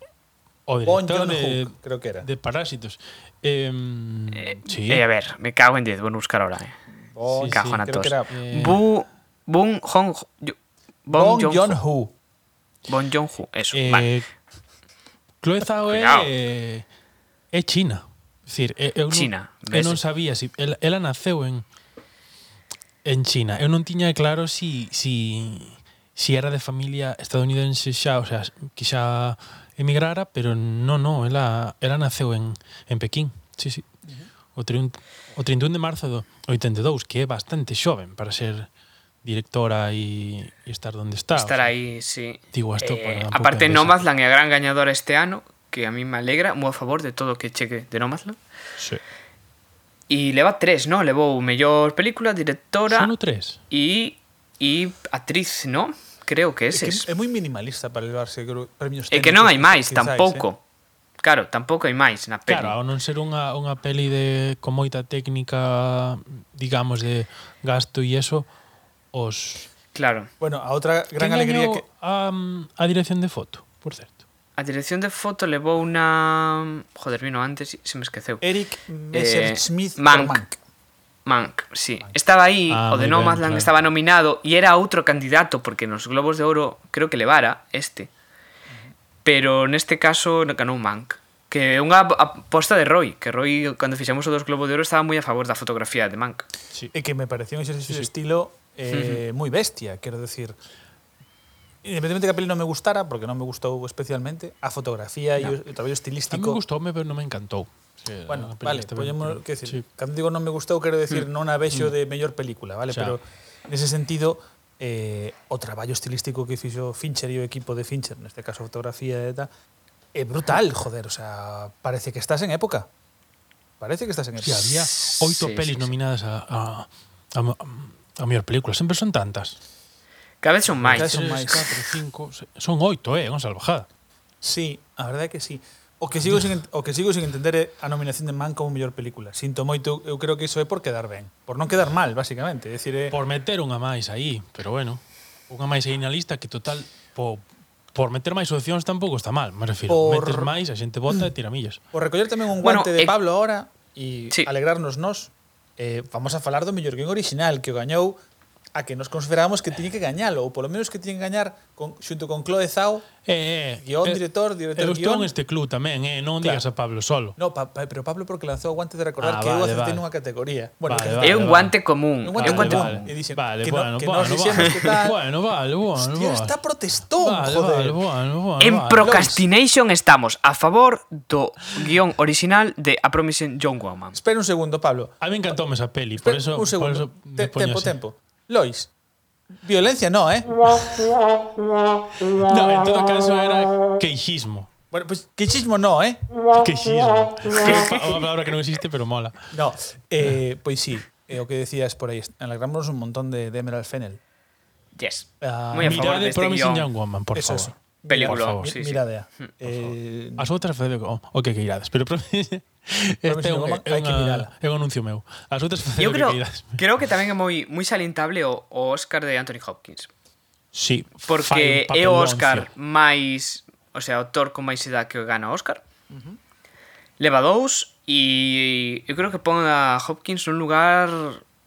[SPEAKER 3] o
[SPEAKER 2] Bon
[SPEAKER 3] director
[SPEAKER 2] John
[SPEAKER 3] de,
[SPEAKER 2] Hook, creo que era.
[SPEAKER 3] de Parásitos. Eh, sí,
[SPEAKER 1] Eh, a ver, me cago en 10, vou buscar ahora. Eh.
[SPEAKER 2] Bon,
[SPEAKER 3] Sí,
[SPEAKER 1] Cago na
[SPEAKER 2] creo
[SPEAKER 1] tos.
[SPEAKER 2] que era
[SPEAKER 3] Eh,
[SPEAKER 1] Bu, Bun Hong, Yu-
[SPEAKER 2] Bon
[SPEAKER 1] Bong
[SPEAKER 2] John
[SPEAKER 1] Joon-ho.
[SPEAKER 2] Hu.
[SPEAKER 1] Bon Joon-ho, eso.
[SPEAKER 3] eh,
[SPEAKER 1] vale.
[SPEAKER 3] Chloe Zhao é,
[SPEAKER 1] Cuidao.
[SPEAKER 3] é China. Es decir, eh, eu non,
[SPEAKER 1] China,
[SPEAKER 3] eu
[SPEAKER 1] ves?
[SPEAKER 3] non sabía si ela, ela naceu en en China. Eu non tiña claro si si si era de familia estadounidense xa, o sea, que xa emigrara, pero non, non, ela ela naceu en en Pequín. Sí, sí. O 30, o 31 de marzo do 82, que é bastante xoven para ser directora e, e estar onde está. o
[SPEAKER 1] Estar
[SPEAKER 3] sea.
[SPEAKER 1] ahí, sí.
[SPEAKER 3] Digo, esto
[SPEAKER 1] Eh,
[SPEAKER 3] para un poco
[SPEAKER 1] aparte,
[SPEAKER 3] de
[SPEAKER 1] Nomadland es gran ganadora este año, que a mí me alegra, muy a favor de todo que cheque de Nomadland.
[SPEAKER 3] Sí.
[SPEAKER 1] Y le va tres, ¿no? Le va mejor película, directora
[SPEAKER 3] Solo tres.
[SPEAKER 1] y, y actriz, ¿no? Creo que ese es.
[SPEAKER 2] É muy minimalista para elevarse creo, premios
[SPEAKER 1] Es que no hay más,
[SPEAKER 2] máis,
[SPEAKER 1] tampoco. Claro, tampoco hay más en la peli.
[SPEAKER 3] ¿eh? Claro, ao non ser unha, unha peli de con moita técnica, digamos, de gasto e eso, os...
[SPEAKER 1] Claro.
[SPEAKER 2] Bueno, a outra gran
[SPEAKER 3] Quen
[SPEAKER 2] alegría que...
[SPEAKER 3] gañou A, a dirección de foto, por certo.
[SPEAKER 1] A dirección de foto le va una... Joder, vino antes y se me esqueceu.
[SPEAKER 2] Eric Messerschmidt
[SPEAKER 1] Mank.
[SPEAKER 2] Mank.
[SPEAKER 1] Mank, sí. Estaba ahí,
[SPEAKER 3] Ah,
[SPEAKER 1] o de
[SPEAKER 3] muy
[SPEAKER 1] Nomadland
[SPEAKER 3] bien, claro.
[SPEAKER 1] estaba nominado y era otro candidato porque en los Globos de Oro creo que levara este. Pero neste caso no ganou Mank, que é unha ap- aposta de Roy, que Roy cando fixemos os dos Globos de Oro estaba moi a favor da fotografía de Mank.
[SPEAKER 3] Sí.
[SPEAKER 2] E Eh, que me pareció un exercicio de estilo eh, muy bestia, quiero decir. Independientemente que a peli no me gustara, porque no me gustó especialmente, a fotografía y o- el trabajo
[SPEAKER 3] A mí
[SPEAKER 2] estilístico.
[SPEAKER 3] me gustó, pero no me encantó. Sí, a
[SPEAKER 2] Bueno,
[SPEAKER 3] peli
[SPEAKER 2] vale,
[SPEAKER 3] está
[SPEAKER 2] podemos,
[SPEAKER 3] pero-
[SPEAKER 2] quero decir,
[SPEAKER 3] sí.
[SPEAKER 2] cando digo non me gustou, quero decir non a vexo de mellor película, vale?
[SPEAKER 3] Xa.
[SPEAKER 2] Pero nese sentido, eh, o traballo estilístico que fixo Fincher e o equipo de Fincher, neste caso fotografía e tal, é brutal, joder, o sea, parece que estás en época. Parece que estás en
[SPEAKER 3] Sí,
[SPEAKER 2] época.
[SPEAKER 3] había oito
[SPEAKER 1] Sí,
[SPEAKER 3] pelis
[SPEAKER 1] sí, sí.
[SPEAKER 3] nominadas a, a, a, a mellor película. Sempre son tantas.
[SPEAKER 1] Cada vez son máis.
[SPEAKER 2] Cada vez son
[SPEAKER 3] Tres,
[SPEAKER 2] máis.
[SPEAKER 3] Catro, cinco, se- son oito, eh, unha salvajada.
[SPEAKER 2] Sí, a verdade é que sí. O
[SPEAKER 3] Ah,
[SPEAKER 2] que sigo sin, o que sigo sin entender é a nominación de Man como mellor película. Sinto moito, eu creo que iso é por quedar ben, por non quedar mal, basicamente, é dicir, é
[SPEAKER 3] Por meter unha máis aí, pero bueno, unha máis aí na lista que total po, por meter máis opcións tampouco está mal, me refiro.
[SPEAKER 2] Por-
[SPEAKER 3] Metes máis, a xente bota e tira millas.
[SPEAKER 2] Por recoller tamén un
[SPEAKER 1] Bueno,
[SPEAKER 2] guante bueno,
[SPEAKER 1] eh,
[SPEAKER 2] de Pablo ahora e
[SPEAKER 1] sí.
[SPEAKER 2] sí. alegrarnos nós, eh, vamos a falar do mellor guión original que o gañou a que nos consideramos que tiñe que gañalo, ou polo menos que tiñe que gañar con, xunto con Chloe Zhao.
[SPEAKER 3] Eh, eh,
[SPEAKER 2] Guión,
[SPEAKER 3] eh,
[SPEAKER 2] director, director,
[SPEAKER 3] eu estou
[SPEAKER 2] guión.
[SPEAKER 3] neste club tamén, eh, non
[SPEAKER 2] Claro.
[SPEAKER 3] digas a Pablo solo.
[SPEAKER 2] No, pa, pa, pero Pablo porque lanzou o guante de recordar
[SPEAKER 3] Ah,
[SPEAKER 2] que eu
[SPEAKER 3] vale,
[SPEAKER 2] acertei
[SPEAKER 3] vale.
[SPEAKER 2] nunha categoría. Bueno,
[SPEAKER 3] Vale,
[SPEAKER 2] que
[SPEAKER 1] É un
[SPEAKER 3] vale.
[SPEAKER 1] guante común, é
[SPEAKER 2] Un guante
[SPEAKER 1] un guante
[SPEAKER 2] común.
[SPEAKER 1] común.
[SPEAKER 2] E dixen
[SPEAKER 3] vale,
[SPEAKER 2] que no-
[SPEAKER 3] bueno,
[SPEAKER 2] que
[SPEAKER 3] bueno,
[SPEAKER 2] nos dixemos que tal.
[SPEAKER 3] bueno, vale, bueno,
[SPEAKER 2] Hostia,
[SPEAKER 3] bueno.
[SPEAKER 2] está protestón,
[SPEAKER 3] vale,
[SPEAKER 2] joder.
[SPEAKER 3] Vale, bueno, bueno,
[SPEAKER 1] En
[SPEAKER 3] vale.
[SPEAKER 1] Procrastination estamos a favor do guión original de A Promising Young Woman.
[SPEAKER 2] Espera un segundo, Pablo.
[SPEAKER 3] A mí encantou esa peli, por
[SPEAKER 2] Espera
[SPEAKER 3] eso,
[SPEAKER 2] un
[SPEAKER 3] por
[SPEAKER 2] segundo.
[SPEAKER 3] eso
[SPEAKER 2] Te-
[SPEAKER 3] me poño
[SPEAKER 2] tempo,
[SPEAKER 3] así.
[SPEAKER 2] tempo. Lois, violencia no, eh?
[SPEAKER 3] No, en todo caso era queixismo.
[SPEAKER 2] Bueno, pues quichismo no, eh?
[SPEAKER 3] Queixismo. É unha palabra que non existe, pero mola.
[SPEAKER 2] No, eh, pois sí, é o que decías por aí, alegrámonos un montón de, de Emerald Fennel.
[SPEAKER 1] Yes.
[SPEAKER 2] Ah,
[SPEAKER 1] Moi a favor
[SPEAKER 3] Mirade
[SPEAKER 1] deste
[SPEAKER 3] Promising
[SPEAKER 1] este
[SPEAKER 3] Young
[SPEAKER 1] guión.
[SPEAKER 3] Woman, por
[SPEAKER 2] Eso
[SPEAKER 3] favor.
[SPEAKER 2] es.
[SPEAKER 1] Película,
[SPEAKER 3] Oh,
[SPEAKER 2] Mi-
[SPEAKER 1] sí, sí.
[SPEAKER 2] miradea.
[SPEAKER 3] Hmm,
[SPEAKER 2] Eh,
[SPEAKER 3] As outras fede o, o que queirades, pero Promising este é
[SPEAKER 2] Young
[SPEAKER 3] un,
[SPEAKER 2] Woman,
[SPEAKER 3] é
[SPEAKER 2] hai que mirala.
[SPEAKER 3] unha, é un anuncio meu. As outras fede
[SPEAKER 1] Eu
[SPEAKER 3] o que
[SPEAKER 1] creo,
[SPEAKER 3] queirades.
[SPEAKER 1] creo que tamén é moi moi salientable o, o Oscar de Anthony Hopkins,
[SPEAKER 3] Sí, fai
[SPEAKER 1] porque
[SPEAKER 3] un
[SPEAKER 1] é o
[SPEAKER 3] papeloncio.
[SPEAKER 1] Oscar máis, o sea, o actor con máis idade que gana o Oscar. Leva dous e eu creo que pon a Hopkins nun lugar,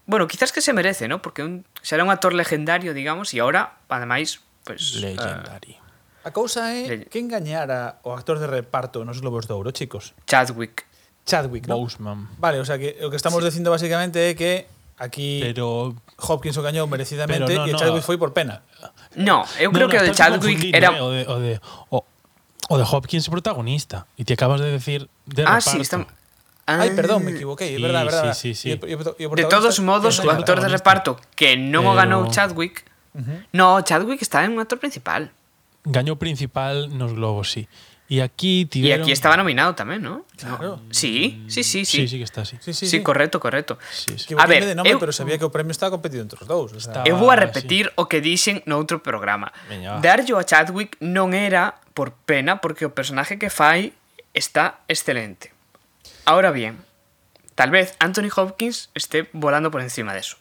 [SPEAKER 1] bueno, quizás que se merece, ¿no? Porque un, será un actor legendario, digamos, e ahora ademais, pues eh,
[SPEAKER 3] Legendary.
[SPEAKER 2] a cousa é
[SPEAKER 1] Lelle.
[SPEAKER 2] que engañara o actor de reparto nos Globos de Ouro, chicos.
[SPEAKER 1] Chadwick.
[SPEAKER 2] Chadwick, ¿no?
[SPEAKER 3] Boseman.
[SPEAKER 2] Vale, o sea, que o que estamos dicindo basicamente é que aquí
[SPEAKER 3] Pero
[SPEAKER 2] Hopkins o gañou merecidamente
[SPEAKER 3] Pero
[SPEAKER 2] e
[SPEAKER 3] no, no.
[SPEAKER 2] Chadwick foi por pena.
[SPEAKER 1] No, eu creo
[SPEAKER 3] No, no,
[SPEAKER 1] que o de
[SPEAKER 3] estás
[SPEAKER 1] Chadwick
[SPEAKER 3] confundindo,
[SPEAKER 1] era
[SPEAKER 3] eh, o de, o de o, o de Hopkins protagonista e te acabas de decir de
[SPEAKER 1] Ah,
[SPEAKER 3] reparto.
[SPEAKER 1] sí, está
[SPEAKER 2] Ai,
[SPEAKER 1] Ah.
[SPEAKER 2] perdón, me equivoquei, é
[SPEAKER 3] Sí,
[SPEAKER 2] verdade, é verdade.
[SPEAKER 3] sí,
[SPEAKER 2] E
[SPEAKER 3] sí, sí.
[SPEAKER 2] o- e o- e o
[SPEAKER 1] De
[SPEAKER 2] protagonista-
[SPEAKER 1] todos modos, o
[SPEAKER 2] Eh,
[SPEAKER 1] actor de reparto
[SPEAKER 3] protagonista.
[SPEAKER 1] que non o
[SPEAKER 3] Pero-
[SPEAKER 1] ganou Chadwick. No, Chadwick está en un actor principal.
[SPEAKER 3] Gañou principal nos Globos, sí. E
[SPEAKER 1] Y
[SPEAKER 3] aquí tiveron
[SPEAKER 1] aquí estaba nominado también, ¿no?
[SPEAKER 2] Claro.
[SPEAKER 1] No. Sí, sí, sí,
[SPEAKER 3] Sí, sí,
[SPEAKER 1] sí.
[SPEAKER 3] que está así.
[SPEAKER 2] Sí, sí,
[SPEAKER 1] Sí, correcto, correcto.
[SPEAKER 3] Sí,
[SPEAKER 2] Que
[SPEAKER 3] sí.
[SPEAKER 2] a
[SPEAKER 1] A ver,
[SPEAKER 2] de nome,
[SPEAKER 1] eu-
[SPEAKER 2] pero sabía que o premio estaba competido entre os dous, o sea,
[SPEAKER 3] Está-
[SPEAKER 1] Eu vou a
[SPEAKER 3] Ah,
[SPEAKER 1] repetir o que dixen no outro programa.
[SPEAKER 3] Veña, va.
[SPEAKER 1] Darllo a Chadwick non era por pena porque o personaje que fai está excelente. Ahora bien, tal vez Anthony Hopkins esté volando por encima de eso.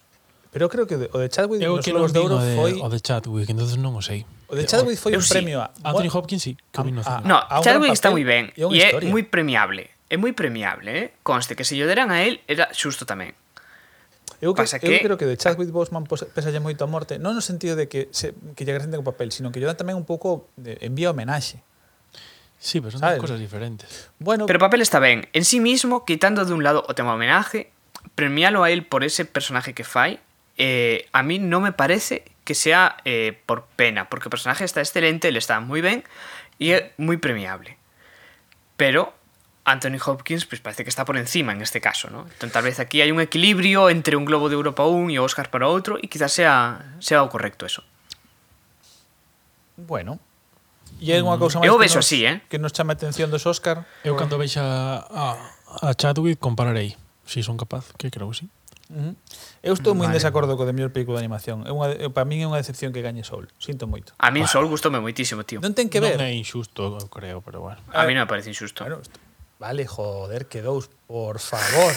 [SPEAKER 2] Pero eu creo que o de- o de Chadwick
[SPEAKER 3] Eu
[SPEAKER 2] nos
[SPEAKER 3] que non
[SPEAKER 2] Globos de
[SPEAKER 3] vin
[SPEAKER 2] Ouro
[SPEAKER 3] o de,
[SPEAKER 2] foi
[SPEAKER 3] o de Chadwick, entonces non o sei. Eh,
[SPEAKER 2] O de Chadwick foi
[SPEAKER 1] Eu
[SPEAKER 2] un
[SPEAKER 1] sí.
[SPEAKER 2] premio a
[SPEAKER 3] Anthony Hopkins sí, que vino
[SPEAKER 2] Ah,
[SPEAKER 1] No,
[SPEAKER 2] a un gran
[SPEAKER 1] Chadwick está moi
[SPEAKER 2] papel
[SPEAKER 1] ben
[SPEAKER 2] e a unha
[SPEAKER 1] e é
[SPEAKER 2] historia.
[SPEAKER 1] moi premiable. É moi premiable, eh? Conste que se lle deran a él era xusto tamén.
[SPEAKER 2] eu, que,
[SPEAKER 1] pasa
[SPEAKER 2] eu
[SPEAKER 1] que-
[SPEAKER 2] creo que de Chadwick Boseman pos- pésalle moito a morte, non no sentido de que se, que lle acrecenten o papel, sino que lle dan tamén un pouco de envía homenaxe.
[SPEAKER 3] Sí, pero son
[SPEAKER 2] ¿Sabes?
[SPEAKER 3] dos cosas diferentes.
[SPEAKER 2] Bueno,
[SPEAKER 1] Pero o papel está ben. En sí mismo, quitando de un lado o tema homenaje, premialo a él por ese personaje que fai, eh, a mí no me parece que sea eh, por pena, porque o personaje está excelente, le está moi ben e é moi premiable. Pero Anthony Hopkins pues, parece que está por encima en este caso, ¿no? Entón, tal vez aquí hai un equilibrio entre un Globo de Europa un e o Oscar para outro e quizás sea, sea o correcto eso.
[SPEAKER 2] bueno. E é
[SPEAKER 3] Mm.
[SPEAKER 2] unha cousa máis
[SPEAKER 1] Eu o
[SPEAKER 2] que
[SPEAKER 1] vexo
[SPEAKER 2] nos-
[SPEAKER 1] así, eh.
[SPEAKER 2] que nos chama a atención dos Óscar.
[SPEAKER 3] Eu cando vexa a, a Chadwick compararei. Si son capaz, que creo que sí.
[SPEAKER 2] Ujú. Eu estou moi en desacordo co de mellor película de animación. É unha de- para min é unha decepción que gañe Soul. Sinto moito.
[SPEAKER 1] A mí o Sol gustoume moitísimo, tío.
[SPEAKER 2] Non ten que ver.
[SPEAKER 3] Non eh, é injusto, eu creo, pero bueno.
[SPEAKER 1] A mí non me parece injusto.
[SPEAKER 2] Bueno, isto- vale, joder, que dous, por favor.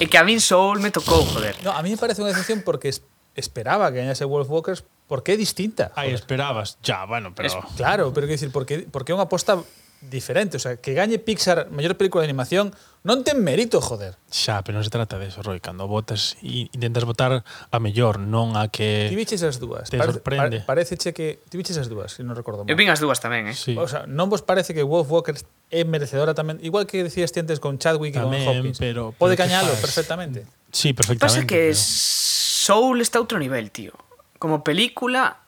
[SPEAKER 1] E que a min Soul me tocou, joder.
[SPEAKER 2] No, a mí me parece unha decepción porque es- esperaba que gañase Wolf Walkers porque é distinta.
[SPEAKER 3] Ai,
[SPEAKER 2] joder.
[SPEAKER 3] esperabas. Ya, bueno, pero
[SPEAKER 1] Es-
[SPEAKER 2] Claro, pero quero dicir, porque, porque é unha aposta diferente. O sea, que gañe Pixar maior película de animación non ten mérito, joder.
[SPEAKER 3] Xa, pero non se trata de eso, Roy. Cando votas, i- intentas votar a mellor, non a
[SPEAKER 2] Ti
[SPEAKER 3] que...
[SPEAKER 2] viches as dúas.
[SPEAKER 3] Te sorprende.
[SPEAKER 2] pareceche que ti viches as dúas, se non recordo mal.
[SPEAKER 1] Eu vin as dúas tamén, eh?
[SPEAKER 3] Sí.
[SPEAKER 2] O sea, non vos parece que Wolf Walker é merecedora tamén, igual que decías ti antes con Chadwick e
[SPEAKER 3] Tamén,
[SPEAKER 2] con Hopkins.
[SPEAKER 3] pero-
[SPEAKER 2] Pode
[SPEAKER 3] pero que
[SPEAKER 2] gañalo
[SPEAKER 3] faz?
[SPEAKER 2] perfectamente.
[SPEAKER 3] Sí, perfectamente.
[SPEAKER 1] Pasa que
[SPEAKER 3] pero-
[SPEAKER 1] Soul está a outro nivel, tío. Como película,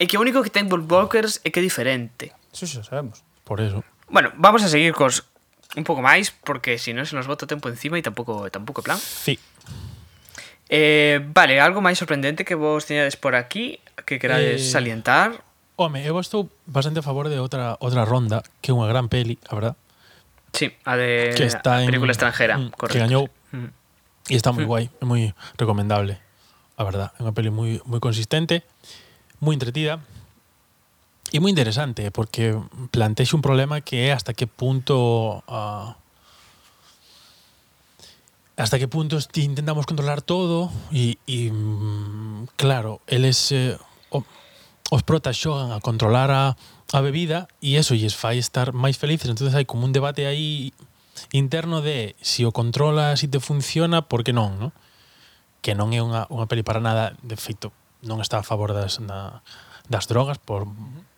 [SPEAKER 1] é que o único que ten Wolf Walkers é que é diferente.
[SPEAKER 2] Eso xa sabemos.
[SPEAKER 3] Por eso.
[SPEAKER 1] Bueno, vamos a seguir cos un pouco máis, porque se non se nos bota o tempo encima e tampouco tampouco é plan.
[SPEAKER 3] Sí.
[SPEAKER 1] Eh, vale, algo máis sorprendente que vos teñades por aquí, que querades
[SPEAKER 3] Eh,
[SPEAKER 1] salientar.
[SPEAKER 3] Home, eu estou bastante a favor de outra outra ronda, que é unha gran peli, a verdad,
[SPEAKER 1] Sí, a de
[SPEAKER 3] que está
[SPEAKER 1] eh, a
[SPEAKER 3] en
[SPEAKER 1] película estranxeira,
[SPEAKER 3] mm,
[SPEAKER 1] correcto.
[SPEAKER 3] Que gañou
[SPEAKER 1] Mm.
[SPEAKER 3] e está moi guai, é moi recomendable. A verdad, é unha peli moi moi consistente, moi entretida e moi interesante porque plantexe un problema que é hasta que punto ah, hasta que puntos ti intentamos controlar todo e, e mm, claro, eles eh, o- os protas xogan a controlar a, a bebida e eso lles fai estar máis felices entonces hai como un debate aí interno de se o controlas e te funciona, por que non, non? que non é unha, unha peli para nada de feito non está a favor das, na, das drogas por,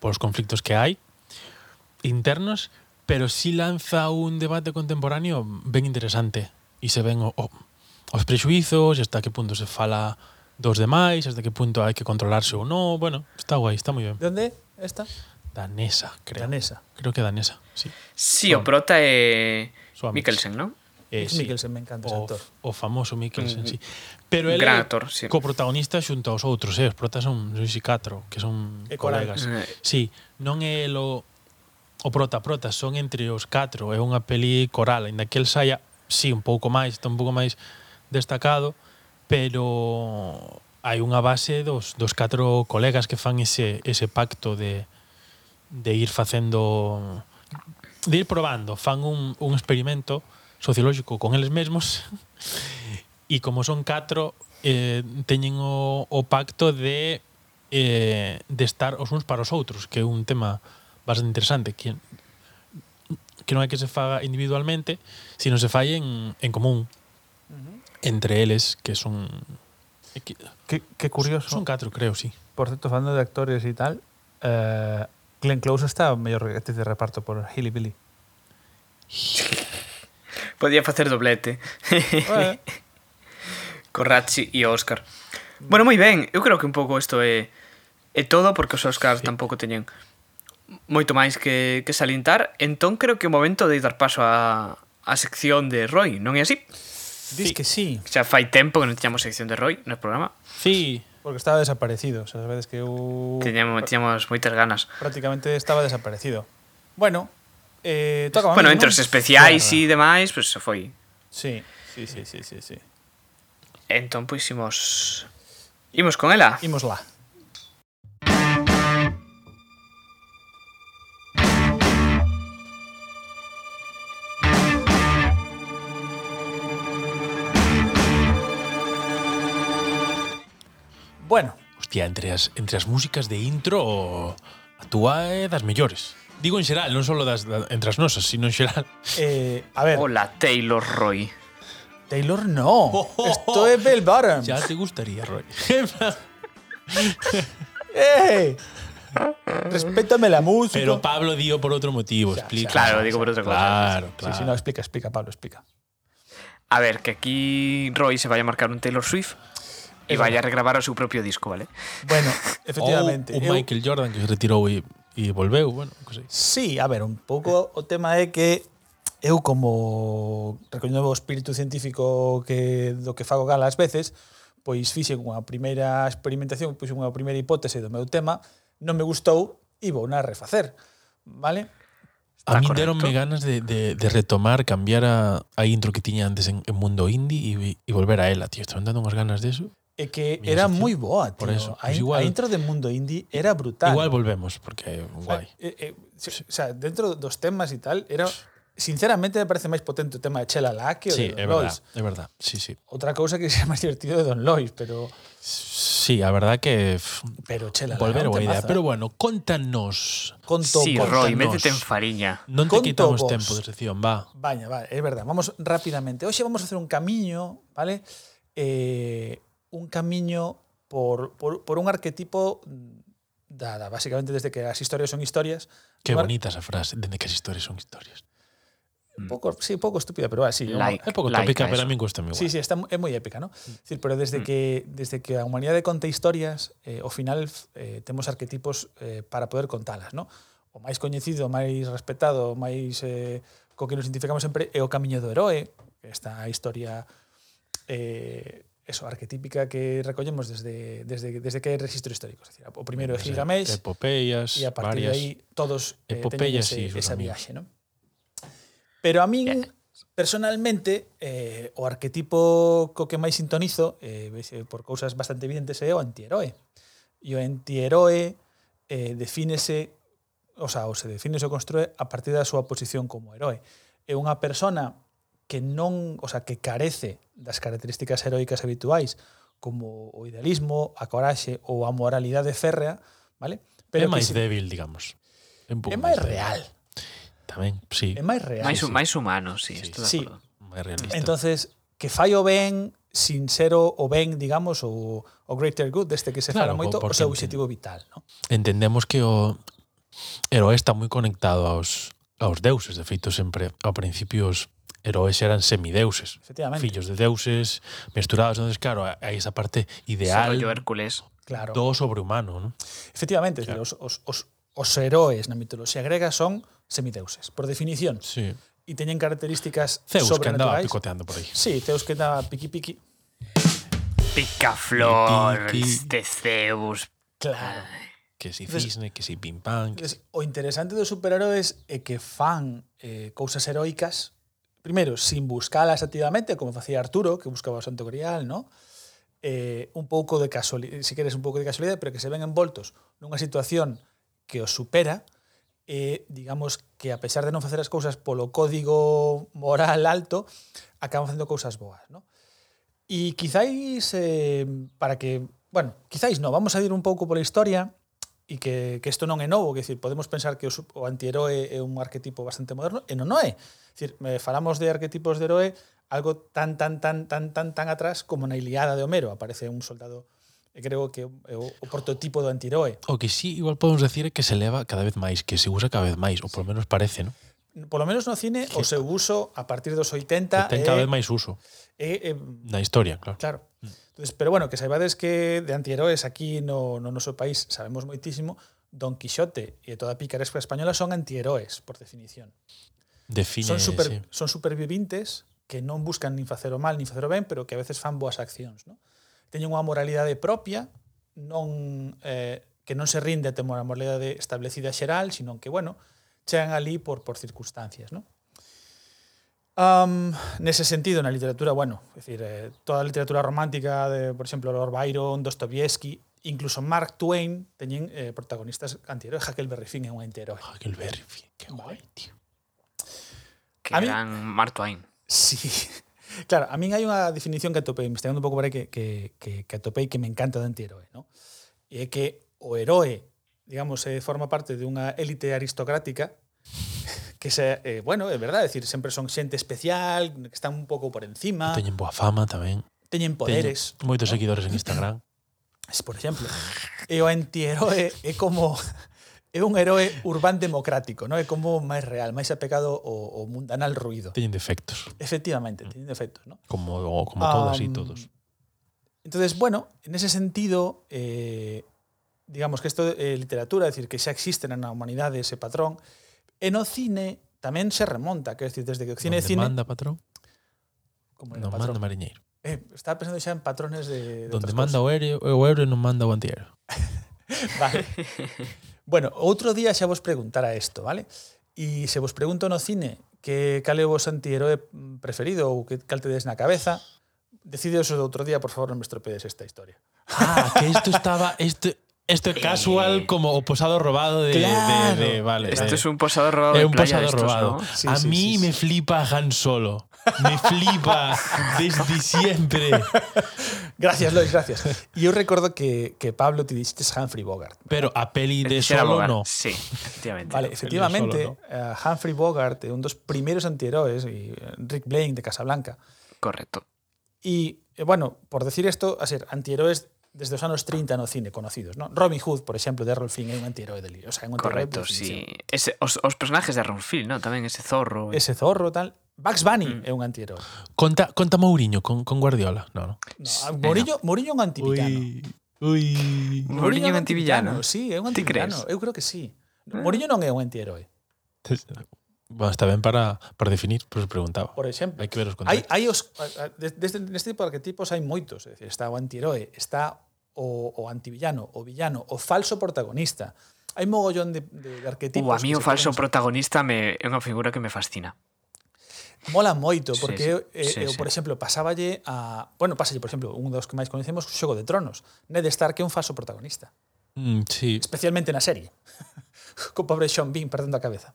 [SPEAKER 3] por os conflictos que hai internos pero si lanza un debate contemporáneo ben interesante e se ven o, o, os prexuizos e hasta que punto se fala dos demais hasta que punto hai que controlarse ou non bueno, está guai, está moi ben
[SPEAKER 2] De onde é esta?
[SPEAKER 3] danesa, creo
[SPEAKER 2] Danesa.
[SPEAKER 3] creo que danesa, sí
[SPEAKER 1] Sí, o prota é
[SPEAKER 3] Suárez.
[SPEAKER 1] Mikkelsen, non?
[SPEAKER 3] Eh,
[SPEAKER 2] Mikkelsen, me encanta ese
[SPEAKER 3] o,
[SPEAKER 2] actor.
[SPEAKER 3] o famoso Mikkelsen,
[SPEAKER 1] Mm,
[SPEAKER 3] sí. Pero
[SPEAKER 1] un
[SPEAKER 3] el
[SPEAKER 1] gran actor, sí.
[SPEAKER 3] coprotagonista xunto aos outros, eh? os protas son sois catro, que son
[SPEAKER 2] E coral.
[SPEAKER 3] colegas.
[SPEAKER 1] Eh.
[SPEAKER 3] Sí, non é el o, o prota prota, son entre os catro, é unha peli coral, ainda que el saia, sí, un pouco máis, está un pouco máis destacado, pero hai unha base dos, dos catro colegas que fan ese, ese pacto de, de ir facendo de ir probando, fan un, un experimento sociolóxico con eles mesmos e como son catro eh, teñen o, o pacto de eh, de estar os uns para os outros que é un tema bastante interesante que, que non é que se faga individualmente sino se fai en, en común entre eles que son eh, que,
[SPEAKER 2] Que, que curioso.
[SPEAKER 3] son catro creo, sí
[SPEAKER 2] Por certo, falando de actores e tal, eh, Glenn Close está a mellor actriz de reparto por Hilly Billy.
[SPEAKER 1] Podía facer doblete.
[SPEAKER 2] Eh,
[SPEAKER 1] Corrazzi e o Óscar. Bueno, moi ben, eu creo que un pouco isto é é todo porque os Óscars sí. tampouco teñen moito máis que, que salientar, entón creo que é o momento de dar paso a, a sección de Roy, non é así?
[SPEAKER 2] Dis que sí,
[SPEAKER 1] Xa fai tempo que non teñamos sección de Roy no programa.
[SPEAKER 3] Sí,
[SPEAKER 2] porque estaba desaparecido. O sea, as veces que eu...
[SPEAKER 1] Teñamos, teñamos moitas ganas.
[SPEAKER 2] prácticamente estaba desaparecido. Bueno, eh, toca a
[SPEAKER 1] bueno,
[SPEAKER 2] min,
[SPEAKER 1] entre
[SPEAKER 2] non?
[SPEAKER 1] os especiais
[SPEAKER 2] Claro.
[SPEAKER 1] e demais, pois pues, xa foi.
[SPEAKER 2] Sí, sí, sí, sí, sí, sí.
[SPEAKER 1] Entón, pois imos... Imos con ela.
[SPEAKER 2] Imos lá. Bueno,
[SPEAKER 3] Hostia, entre as, entre as músicas de intro a túa é das mellores. Digo en xeral, non só das, da- entre as nosas, sino en xeral.
[SPEAKER 2] eh, a ver,
[SPEAKER 1] Hola, Taylor Roy.
[SPEAKER 2] Taylor no. Esto es Bell Bottom.
[SPEAKER 3] Ya te gustaría, Roy.
[SPEAKER 2] ¡Ey! ¡Eh! Respétame la música.
[SPEAKER 3] Pero Pablo dio por outro motivo,
[SPEAKER 2] Xa,
[SPEAKER 3] explica.
[SPEAKER 1] Claro, digo por outra cosa.
[SPEAKER 3] Claro,
[SPEAKER 2] Sí,
[SPEAKER 3] claro.
[SPEAKER 2] sí, no, explica, explica, Pablo, explica.
[SPEAKER 1] A ver, que aquí Roy se vaya a marcar un Taylor Swift y vaya a regrabar o seu propio disco, ¿vale?
[SPEAKER 2] Bueno,
[SPEAKER 3] Oh,
[SPEAKER 2] efectivamente.
[SPEAKER 3] Ou o
[SPEAKER 2] eu-
[SPEAKER 3] Michael Jordan que se retirou e, e volveu, bueno, que sei.
[SPEAKER 2] Sí, a ver, un pouco o tema é que eu como recoñendo o espírito científico que do que fago gala ás veces, pois fixen unha primeira experimentación, pois unha primeira hipótese do meu tema, non me gustou e vou na refacer, vale?
[SPEAKER 3] A mí
[SPEAKER 1] correcto.
[SPEAKER 3] deronme ganas de, de, de retomar, cambiar a, a intro que tiña antes en, en Mundo Indie e, e volver a ela, tío. Estou dando unhas ganas de eso.
[SPEAKER 2] E que
[SPEAKER 3] Mira,
[SPEAKER 2] era
[SPEAKER 3] sí,
[SPEAKER 2] moi boa, tío.
[SPEAKER 3] por eso,
[SPEAKER 2] a,
[SPEAKER 3] pois
[SPEAKER 2] in-
[SPEAKER 3] igual-
[SPEAKER 2] a intro de Mundo Indie era brutal.
[SPEAKER 3] Igual volvemos, porque é guai.
[SPEAKER 2] Eh, eh, se- o sea, dentro dos temas e tal, era Sinceramente me parece máis potente o tema de Chela Laque ou
[SPEAKER 3] Sí,
[SPEAKER 2] de
[SPEAKER 3] é
[SPEAKER 2] Don
[SPEAKER 3] verdad,
[SPEAKER 2] Lois.
[SPEAKER 3] é verdad. Sí, sí.
[SPEAKER 2] Outra cousa que sea máis divertido de Don Lois, pero
[SPEAKER 3] Sí, a verdad que pff,
[SPEAKER 2] pero Chela Laque. é
[SPEAKER 3] volver
[SPEAKER 2] un
[SPEAKER 3] boa idea.
[SPEAKER 2] temazo. eh.
[SPEAKER 3] Pero bueno, contanos.
[SPEAKER 2] conto
[SPEAKER 1] Sí,
[SPEAKER 2] conto.
[SPEAKER 1] Roy,
[SPEAKER 3] contanos.
[SPEAKER 1] métete en fariña.
[SPEAKER 3] Non te
[SPEAKER 2] Conto
[SPEAKER 3] quitamos
[SPEAKER 2] vos.
[SPEAKER 3] tempo de sección, va.
[SPEAKER 2] Vaya, vale, es verdad. Vamos rápidamente. Hoy vamos a hacer un camino, ¿vale? Eh, un camino por, por, por un arquetipo mm, dada, básicamente desde que las historias son historias.
[SPEAKER 3] Que
[SPEAKER 2] Un ar-
[SPEAKER 3] bonita esa frase, dende que as historias son historias.
[SPEAKER 2] un Poco, sí, un poco estúpida, pero así.
[SPEAKER 1] Mm. Like.
[SPEAKER 3] É pouco
[SPEAKER 1] Laica
[SPEAKER 3] tópica, pero
[SPEAKER 1] eso.
[SPEAKER 3] a min gustame igual.
[SPEAKER 2] Sí, sí, está, mu- é moi épica, ¿no? Es decir, pero desde que desde que a humanidade conta historias, eh, ao final f- eh, temos arquetipos eh, para poder contalas, ¿no? O máis coñecido, o máis respetado, o máis eh, co que nos identificamos sempre é o camiño do heroe, esta historia eh, eso, arquetípica que recollemos desde desde desde que hai registro histórico, es decir, o primeiro é
[SPEAKER 3] Ese-
[SPEAKER 2] Gilgamesh
[SPEAKER 3] eh, Epopeyas,
[SPEAKER 2] e a partir
[SPEAKER 3] varias.
[SPEAKER 2] de aí todos eh, teñen
[SPEAKER 3] epopeyas e
[SPEAKER 2] ese,
[SPEAKER 3] sus
[SPEAKER 2] esa
[SPEAKER 3] amigos.
[SPEAKER 2] viaxe, ¿no? Pero a min
[SPEAKER 1] Yeah.
[SPEAKER 2] personalmente eh, o arquetipo co que máis sintonizo eh, ves, eh, por cousas bastante evidentes é o antiheroe. E o antiheroe eh, defínese o sea, ou se define ou construe a partir da súa posición como heroe. É unha persona que non, o sea, que carece das características heroicas habituais como o idealismo, a coraxe ou a moralidade férrea, vale?
[SPEAKER 3] Pero é
[SPEAKER 2] que
[SPEAKER 3] máis
[SPEAKER 2] se-
[SPEAKER 3] débil, digamos. É, un pouco
[SPEAKER 2] é máis
[SPEAKER 3] débil.
[SPEAKER 2] real.
[SPEAKER 3] Tamén, sí.
[SPEAKER 2] É máis real.
[SPEAKER 1] Máis,
[SPEAKER 3] sí.
[SPEAKER 1] máis humano, sí,
[SPEAKER 3] Sí,
[SPEAKER 1] estou de
[SPEAKER 2] sí.
[SPEAKER 1] acordo.
[SPEAKER 3] Máis realista.
[SPEAKER 2] Entonces, que fai o ben sin ser o, o ben, digamos, o, o greater good, deste que se
[SPEAKER 3] Claro,
[SPEAKER 2] fala moito, o
[SPEAKER 3] porque
[SPEAKER 2] seu
[SPEAKER 3] enten-
[SPEAKER 2] objetivo vital. No?
[SPEAKER 3] Entendemos que o heroe está moi conectado aos aos deuses, de feito sempre ao principio os heroes eran semideuses,
[SPEAKER 2] Efectivamente.
[SPEAKER 3] fillos de deuses misturados, entonces claro, hai esa parte ideal
[SPEAKER 1] Rollo Hércules.
[SPEAKER 2] Claro.
[SPEAKER 3] do sobrehumano, ¿no?
[SPEAKER 2] Efectivamente, claro. os, os, os, os heroes na mitoloxía grega son semideuses, por definición.
[SPEAKER 3] Sí.
[SPEAKER 2] E teñen características
[SPEAKER 3] Zeus que andaba
[SPEAKER 2] sobrenaturais.
[SPEAKER 3] picoteando por aí.
[SPEAKER 2] Sí, Zeus que andaba piqui piqui.
[SPEAKER 1] Picaflor,
[SPEAKER 3] Tiki.
[SPEAKER 1] de Zeus.
[SPEAKER 2] Claro.
[SPEAKER 3] Que si
[SPEAKER 2] Entonces-
[SPEAKER 3] cisne, que si pim pam, que si...
[SPEAKER 2] Entonces, o interesante dos superheróis é que fan eh, cousas heroicas, primeiro, sin buscalas activamente, como facía Arturo, que buscaba o Santo Grial, ¿no? Eh, un pouco de casualidade, si queres un pouco de casualidade, pero que se ven envoltos nunha situación que os supera, e digamos que a pesar de non facer as cousas polo código moral alto, acaban facendo cousas boas, ¿no? E quizáis eh, para que, bueno, quizáis no, vamos a ir un pouco pola historia e que, que isto non é novo, que decir, podemos pensar que o, sup- o antiheroe é un arquetipo bastante moderno, e non o é. Decir, eh, falamos de arquetipos de heroe algo tan tan tan tan tan tan atrás como na Iliada de Homero, aparece un soldado eh, creo que é o, o prototipo do antiheroe.
[SPEAKER 3] O que sí, igual podemos decir é que se leva cada vez máis, que se usa cada vez máis, ou polo menos parece, ¿no?
[SPEAKER 2] Polo menos no cine, o seu uso a partir dos 80
[SPEAKER 3] Que ten cada vez máis uso
[SPEAKER 2] é, é
[SPEAKER 3] na historia,
[SPEAKER 2] eh,
[SPEAKER 3] claro.
[SPEAKER 2] Claro. Entonces, pero bueno, que saibades que de antiheroes aquí no, no noso país sabemos moitísimo, Don Quixote e toda a picaresca española son antiheroes, por definición.
[SPEAKER 3] Define,
[SPEAKER 2] son, super,
[SPEAKER 3] sí.
[SPEAKER 2] son supervivintes que non buscan nin facer o mal, nin facer o ben, pero que a veces fan boas accións. ¿no? Teñen unha moralidade propia, non eh, que non se rinde a temor a moralidade establecida xeral, sino que, bueno, chegan ali por, por circunstancias. ¿no? Um, nese sentido, na literatura, bueno, es decir, eh, toda a literatura romántica, de, por exemplo, Lord Byron, Dostoevsky, incluso Mark Twain, teñen eh, protagonistas antiheroes. Huckleberry Finn é un antiheroe.
[SPEAKER 3] Huckleberry Finn, que guai, tío.
[SPEAKER 1] Que
[SPEAKER 2] A mí-
[SPEAKER 1] eran Mark Twain.
[SPEAKER 2] Sí. Claro, a min hai unha definición que atopei, investigando un pouco por aí, que, que, que, que atopei que me encanta do antiheroe, ¿no? E é que o heroe, digamos, eh, forma parte dunha élite aristocrática que se, eh, bueno, é verdade, é decir, sempre son xente especial, que están un pouco por encima,
[SPEAKER 3] Teñen boa fama tamén.
[SPEAKER 2] teñen poderes,
[SPEAKER 3] Teñen moitos seguidores en Instagram.
[SPEAKER 2] es, por exemplo. E o antiheroe é como é un heroe urbán democrático, ¿no? É como máis real, máis apegado ao, ao mundanal ruido.
[SPEAKER 3] Teñen defectos,
[SPEAKER 2] Efectivamente, teñen defectos, ¿no?
[SPEAKER 3] como o- como todas
[SPEAKER 2] Am,
[SPEAKER 3] e todos.
[SPEAKER 2] Entonces, bueno, en ese sentido, eh, digamos que isto é literatura, é dicir, que xa existe na humanidade ese patrón, e no cine tamén se remonta, quero dicir, desde que o cine é
[SPEAKER 3] Donde
[SPEAKER 2] cine,
[SPEAKER 3] manda patrón,
[SPEAKER 2] como era o
[SPEAKER 3] non manda
[SPEAKER 2] patrón.
[SPEAKER 3] mariñeiro.
[SPEAKER 2] Eh, estaba pensando xa en patrones de, de
[SPEAKER 3] Donde
[SPEAKER 2] outras
[SPEAKER 3] manda
[SPEAKER 2] cousas.
[SPEAKER 3] o aéreo, o aéreo non manda o antiaéreo.
[SPEAKER 2] Vale. bueno, outro día xa vos preguntara isto, vale? E se vos pregunto no cine que cal é o vos antiheroe preferido ou que cal tedes na cabeza, decideos outro día, por favor, non me estropedes esta historia.
[SPEAKER 3] Ah, que isto estaba, isto Esto é casual como o posado robado de,
[SPEAKER 2] Claro.
[SPEAKER 3] de, de vale.
[SPEAKER 1] Esto
[SPEAKER 3] de-
[SPEAKER 1] es un posado robado
[SPEAKER 3] É
[SPEAKER 1] de
[SPEAKER 3] un
[SPEAKER 1] playa
[SPEAKER 3] pasado
[SPEAKER 1] de estos,
[SPEAKER 3] robado.
[SPEAKER 1] ¿no?
[SPEAKER 2] Sí,
[SPEAKER 3] a
[SPEAKER 2] sí,
[SPEAKER 3] mí
[SPEAKER 2] sí,
[SPEAKER 3] me flipa Han Solo. Me flipa desde siempre.
[SPEAKER 2] Gracias, Lois, gracias. E eu recordo que, que Pablo te dixiste Humphrey Bogart.
[SPEAKER 3] Pero a peli de
[SPEAKER 1] Quisiera
[SPEAKER 3] Solo
[SPEAKER 1] abogar.
[SPEAKER 3] no.
[SPEAKER 1] Sí, efectivamente.
[SPEAKER 2] Vale, efectivamente,
[SPEAKER 3] solo,
[SPEAKER 2] eh, Humphrey Bogart é un dos primeiros antiheroes y eh, Rick Blaine de Casablanca.
[SPEAKER 1] Correcto.
[SPEAKER 2] Y eh, bueno, por decir esto, a ser antihéroes desde os anos 30 no cine conocidos, ¿no? Robin Hood, por exemplo, de Errol Flynn é un antihéroe de li- o sea, é un antihéroe
[SPEAKER 1] Correcto,
[SPEAKER 2] por
[SPEAKER 1] sí.
[SPEAKER 2] definición.
[SPEAKER 1] Ese, os, os personajes de Ronfield, ¿no? Tamén ese zorro.
[SPEAKER 2] Ese zorro tal. Bugs
[SPEAKER 1] Mm.
[SPEAKER 2] Bunny é un antihéroe.
[SPEAKER 3] Conta, conta Mourinho con, con Guardiola. No, no.
[SPEAKER 2] No, ah, a- Mourinho, Mourinho é un antivillano.
[SPEAKER 3] Uy.
[SPEAKER 1] Mourinho é un antivillano. Mm.
[SPEAKER 2] Sí, é un
[SPEAKER 1] Ti
[SPEAKER 2] antivillano.
[SPEAKER 1] crees?
[SPEAKER 2] Eu creo que sí. Mourinho non é un antihéroe.
[SPEAKER 3] Bueno, está bien para, para definir, pues preguntaba.
[SPEAKER 2] Por exemplo,
[SPEAKER 3] Hay que ver os
[SPEAKER 2] Hai,
[SPEAKER 3] contratos.
[SPEAKER 2] hai os, a- a- des- deste, neste tipo de arquetipos hai moitos, é dicir, está o antiheroe, está o, o antivillano, o villano, o falso protagonista. Hai mogollón de, de, de arquetipos.
[SPEAKER 1] Uh, a mí o
[SPEAKER 2] que se
[SPEAKER 1] falso
[SPEAKER 2] poden-
[SPEAKER 1] protagonista me, é unha figura que me fascina.
[SPEAKER 2] Mola moito,
[SPEAKER 1] Sí,
[SPEAKER 2] porque,
[SPEAKER 1] sí,
[SPEAKER 2] eu- eh,
[SPEAKER 1] sí,
[SPEAKER 2] eu,
[SPEAKER 1] sí.
[SPEAKER 2] por exemplo, pasáballe a... Bueno, pasalle, por exemplo, un dos que máis coñecemos, o Xogo de Tronos. Ned Stark é un falso protagonista.
[SPEAKER 3] Mm, sí.
[SPEAKER 2] Especialmente na serie. Co pobre Sean Bean perdendo a cabeza.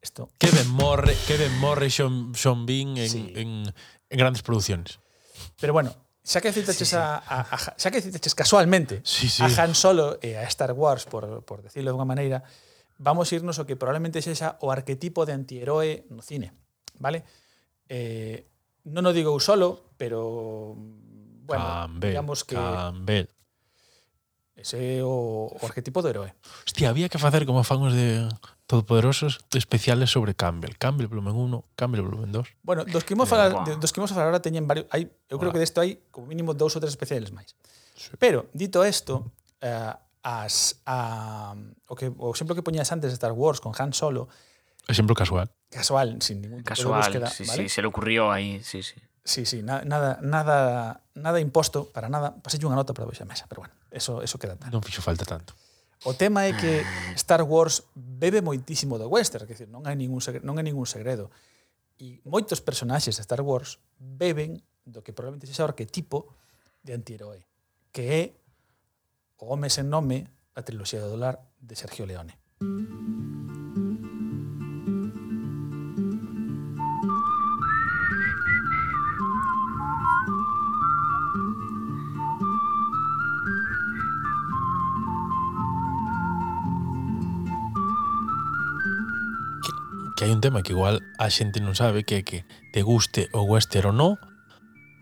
[SPEAKER 2] Isto,
[SPEAKER 3] Kevin Morre, Kevin Morre, Sean, Sean Bean en,
[SPEAKER 2] Sí.
[SPEAKER 3] en- en grandes producciones.
[SPEAKER 2] Pero bueno, xa que citaches a, a, a Ja- xa que citaches casualmente
[SPEAKER 3] Sí, sí.
[SPEAKER 2] a Han Solo e a Star Wars por por decirlo de unha maneira, vamos a irnos o que probablemente sexa o arquetipo de antiheroe no cine, vale? Eh, non o digo eu solo, pero bueno,
[SPEAKER 3] Campbell,
[SPEAKER 2] digamos que
[SPEAKER 3] Campbell.
[SPEAKER 2] ese é o, o arquetipo do heroe.
[SPEAKER 3] Hostia, había que facer como fan os de Todopoderosos especiales sobre Campbell. Campbell volumen 1, Campbell volumen 2.
[SPEAKER 2] Bueno, dos que imos
[SPEAKER 1] Pero,
[SPEAKER 2] falar,
[SPEAKER 1] Eh, buah.
[SPEAKER 2] de- dos que imos falar ahora teñen varios, hai, eu creo que
[SPEAKER 3] Buah.
[SPEAKER 2] desto hai como mínimo dous ou tres especiales máis.
[SPEAKER 3] Sí.
[SPEAKER 2] Pero, dito isto, eh, as, a, o, que, o exemplo que poñías antes de Star Wars con Han Solo,
[SPEAKER 3] Exemplo casual.
[SPEAKER 2] casual, sin ningún tipo de
[SPEAKER 1] Casual,
[SPEAKER 2] búsqueda,
[SPEAKER 1] sí,
[SPEAKER 2] ¿vale?
[SPEAKER 1] sí, se le ocurrió ahí, sí, sí.
[SPEAKER 2] Sí, sí, na- nada, nada, nada imposto, para nada. Pasei unha nota para a mesa, pero bueno, eso, eso queda tal.
[SPEAKER 3] Non fixo falta tanto.
[SPEAKER 2] O tema é que Star Wars bebe moitísimo do western, quer dizer, non hai ningún segredo, non hai ningún segredo. E moitos personaxes de Star Wars beben do que probablemente sexa o arquetipo de antiheroe, que é o home sen nome, a triloxía do dólar de Sergio Leone.
[SPEAKER 3] Que hai un tema que igual a xente non sabe que é que te guste o western ou non,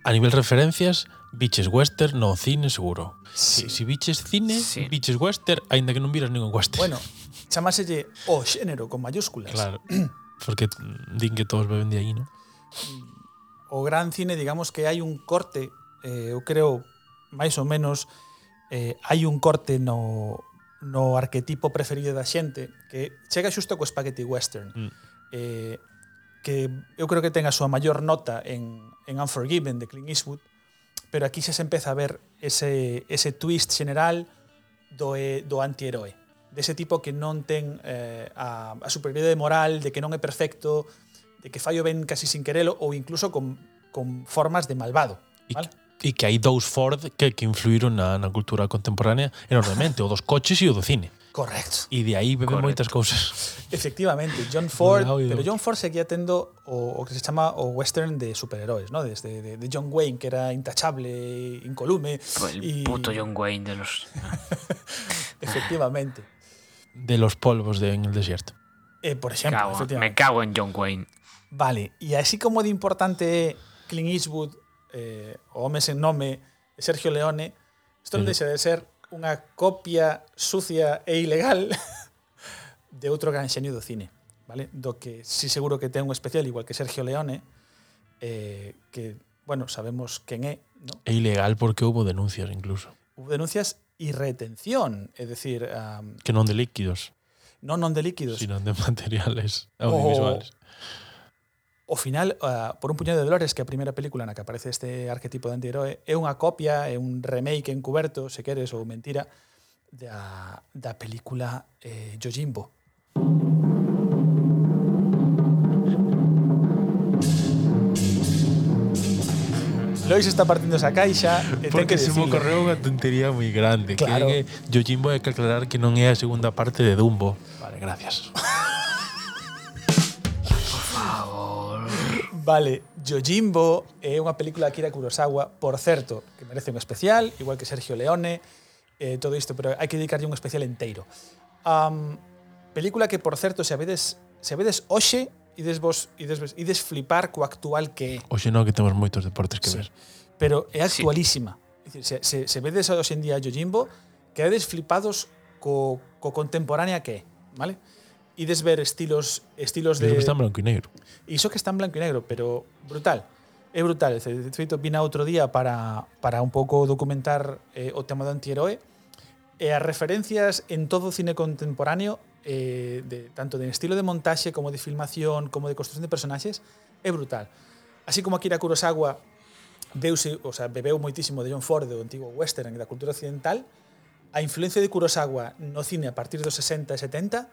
[SPEAKER 3] a nivel referencias, biches western no cine seguro. Si, si biches cine,
[SPEAKER 1] Sí.
[SPEAKER 3] biches western, aínda que non viras ningún western.
[SPEAKER 2] Bueno, chamáselle o xénero con mayúsculas.
[SPEAKER 3] claro. Porque din que todos beben de aí, non?
[SPEAKER 2] o gran cine, digamos que hai un corte, eh, eu creo, máis ou menos, eh, hai un corte no, no arquetipo preferido da xente que chega xusto co Spaghetti Western.
[SPEAKER 3] Mm.
[SPEAKER 2] Eh, que eu creo que ten a súa maior nota en, en Unforgiven de Clint Eastwood, pero aquí xa se empeza a ver ese, ese twist general do, eh, do antiheroe. Dese tipo que non ten eh, a, a superioridade moral, de que non é perfecto, de que fallo ben casi sin querelo ou incluso con, con formas de malvado.
[SPEAKER 3] E,
[SPEAKER 2] Vale?
[SPEAKER 3] e que hai dous Ford que, que influíron na, na cultura contemporánea enormemente, o dos coches e o do cine.
[SPEAKER 2] Correcto.
[SPEAKER 3] E de aí beben
[SPEAKER 1] Correcto.
[SPEAKER 3] moitas cousas.
[SPEAKER 2] Efectivamente, John Ford,
[SPEAKER 3] Cuidado,
[SPEAKER 2] pero
[SPEAKER 3] John.
[SPEAKER 2] John Ford seguía tendo o, o que se chama o western de superheróis, ¿no? Desde de, de John Wayne que era intachable, incolume
[SPEAKER 1] Pues el
[SPEAKER 2] y-
[SPEAKER 1] puto John Wayne de los...
[SPEAKER 2] Efectivamente.
[SPEAKER 3] de los polvos de en el desierto.
[SPEAKER 2] Eh, por exemplo,
[SPEAKER 1] Cago, me
[SPEAKER 2] efectivamente.
[SPEAKER 1] cago en John Wayne.
[SPEAKER 2] Vale, e así como de importante é Clint Eastwood, eh, o home sen nome, e Sergio Leone, isto non
[SPEAKER 3] Pero-
[SPEAKER 2] deixa de ser unha copia sucia e ilegal de outro gran xenio do cine, vale? Do que si seguro que ten un especial igual que Sergio Leone, eh, que, bueno, sabemos quen é, no?
[SPEAKER 3] É ilegal porque houve denuncias incluso,
[SPEAKER 2] Hubo denuncias e retención, é dicir, um,
[SPEAKER 3] que non de líquidos,
[SPEAKER 2] non non de líquidos,
[SPEAKER 3] sino de materiales
[SPEAKER 2] Oh,
[SPEAKER 3] audiovisuales.
[SPEAKER 2] O final, ah, por un puñado de dólares, que é a primeira película na que aparece este arquetipo de antiheroe, é unha copia, é un remake encuberto, se queres, ou mentira, da, da película eh, Yojimbo. Lois está partindo esa caixa e ten
[SPEAKER 3] Porque
[SPEAKER 2] que
[SPEAKER 3] se me
[SPEAKER 2] dicirlo.
[SPEAKER 3] ocorreu unha tontería moi grande.
[SPEAKER 2] Claro.
[SPEAKER 3] Que é que Yojimbo hai que aclarar que non é a segunda parte de Dumbo. Vale, gracias.
[SPEAKER 2] Vale, Yojimbo é unha película de Akira Kurosawa, por certo, que merece un especial, igual que Sergio Leone, eh, todo isto, pero hai que dedicarlle un especial enteiro. Um, película que, por certo, se habedes, se habedes hoxe, ides vos, ides, vos- ides flipar co actual que é.
[SPEAKER 3] Oxe non, que temos moitos deportes que
[SPEAKER 2] Sí.
[SPEAKER 3] ver.
[SPEAKER 2] pero é
[SPEAKER 1] Sí.
[SPEAKER 2] actualísima. É dicir, se, se, se vedes hoxe en día a Yojimbo, quedades flipados co, co contemporánea que é, vale? Ides ver estilos estilos de...
[SPEAKER 3] Pero está en branco e negro.
[SPEAKER 2] Iso que está en blanco e negro, pero brutal. É brutal. De feito, vina outro día para, para un pouco documentar eh, o tema do antiheroe e as referencias en todo o cine contemporáneo eh, de, tanto de estilo de montaxe como de filmación como de construción de personaxes é brutal. Así como Akira Kurosawa deuse, o sea, bebeu moitísimo de John Ford, do antigo western e da cultura occidental, a influencia de Kurosawa no cine a partir dos 60 e 70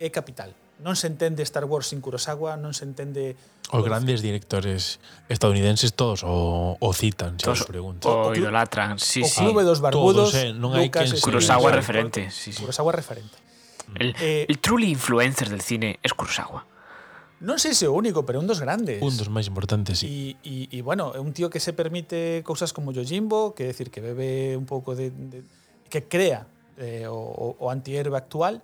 [SPEAKER 2] é capital. Non se entende Star Wars sin Kurosawa, non se entende
[SPEAKER 3] Os grandes directores estadounidenses todos o, o citan, se
[SPEAKER 1] Todos
[SPEAKER 3] os pregunto.
[SPEAKER 1] o
[SPEAKER 2] O club-
[SPEAKER 1] idolatran, sí,
[SPEAKER 2] o
[SPEAKER 1] sí.
[SPEAKER 2] Clube dos Barbudos,
[SPEAKER 3] todos, eh, non hai
[SPEAKER 2] Lucas,
[SPEAKER 3] quen se-
[SPEAKER 1] Kurosawa
[SPEAKER 2] Spielberg,
[SPEAKER 1] referente, sí, sí.
[SPEAKER 2] Kurosawa referente.
[SPEAKER 1] El,
[SPEAKER 2] Eh,
[SPEAKER 1] el truly influencer del cine es Kurosawa.
[SPEAKER 2] Non sei se o único, pero un dos grandes.
[SPEAKER 3] Un dos máis importantes, sí.
[SPEAKER 2] Y, y- y, bueno, é un tío que se permite cousas como Yojimbo, que decir que bebe un pouco de, de- que crea eh, o, o, o antihéroe actual,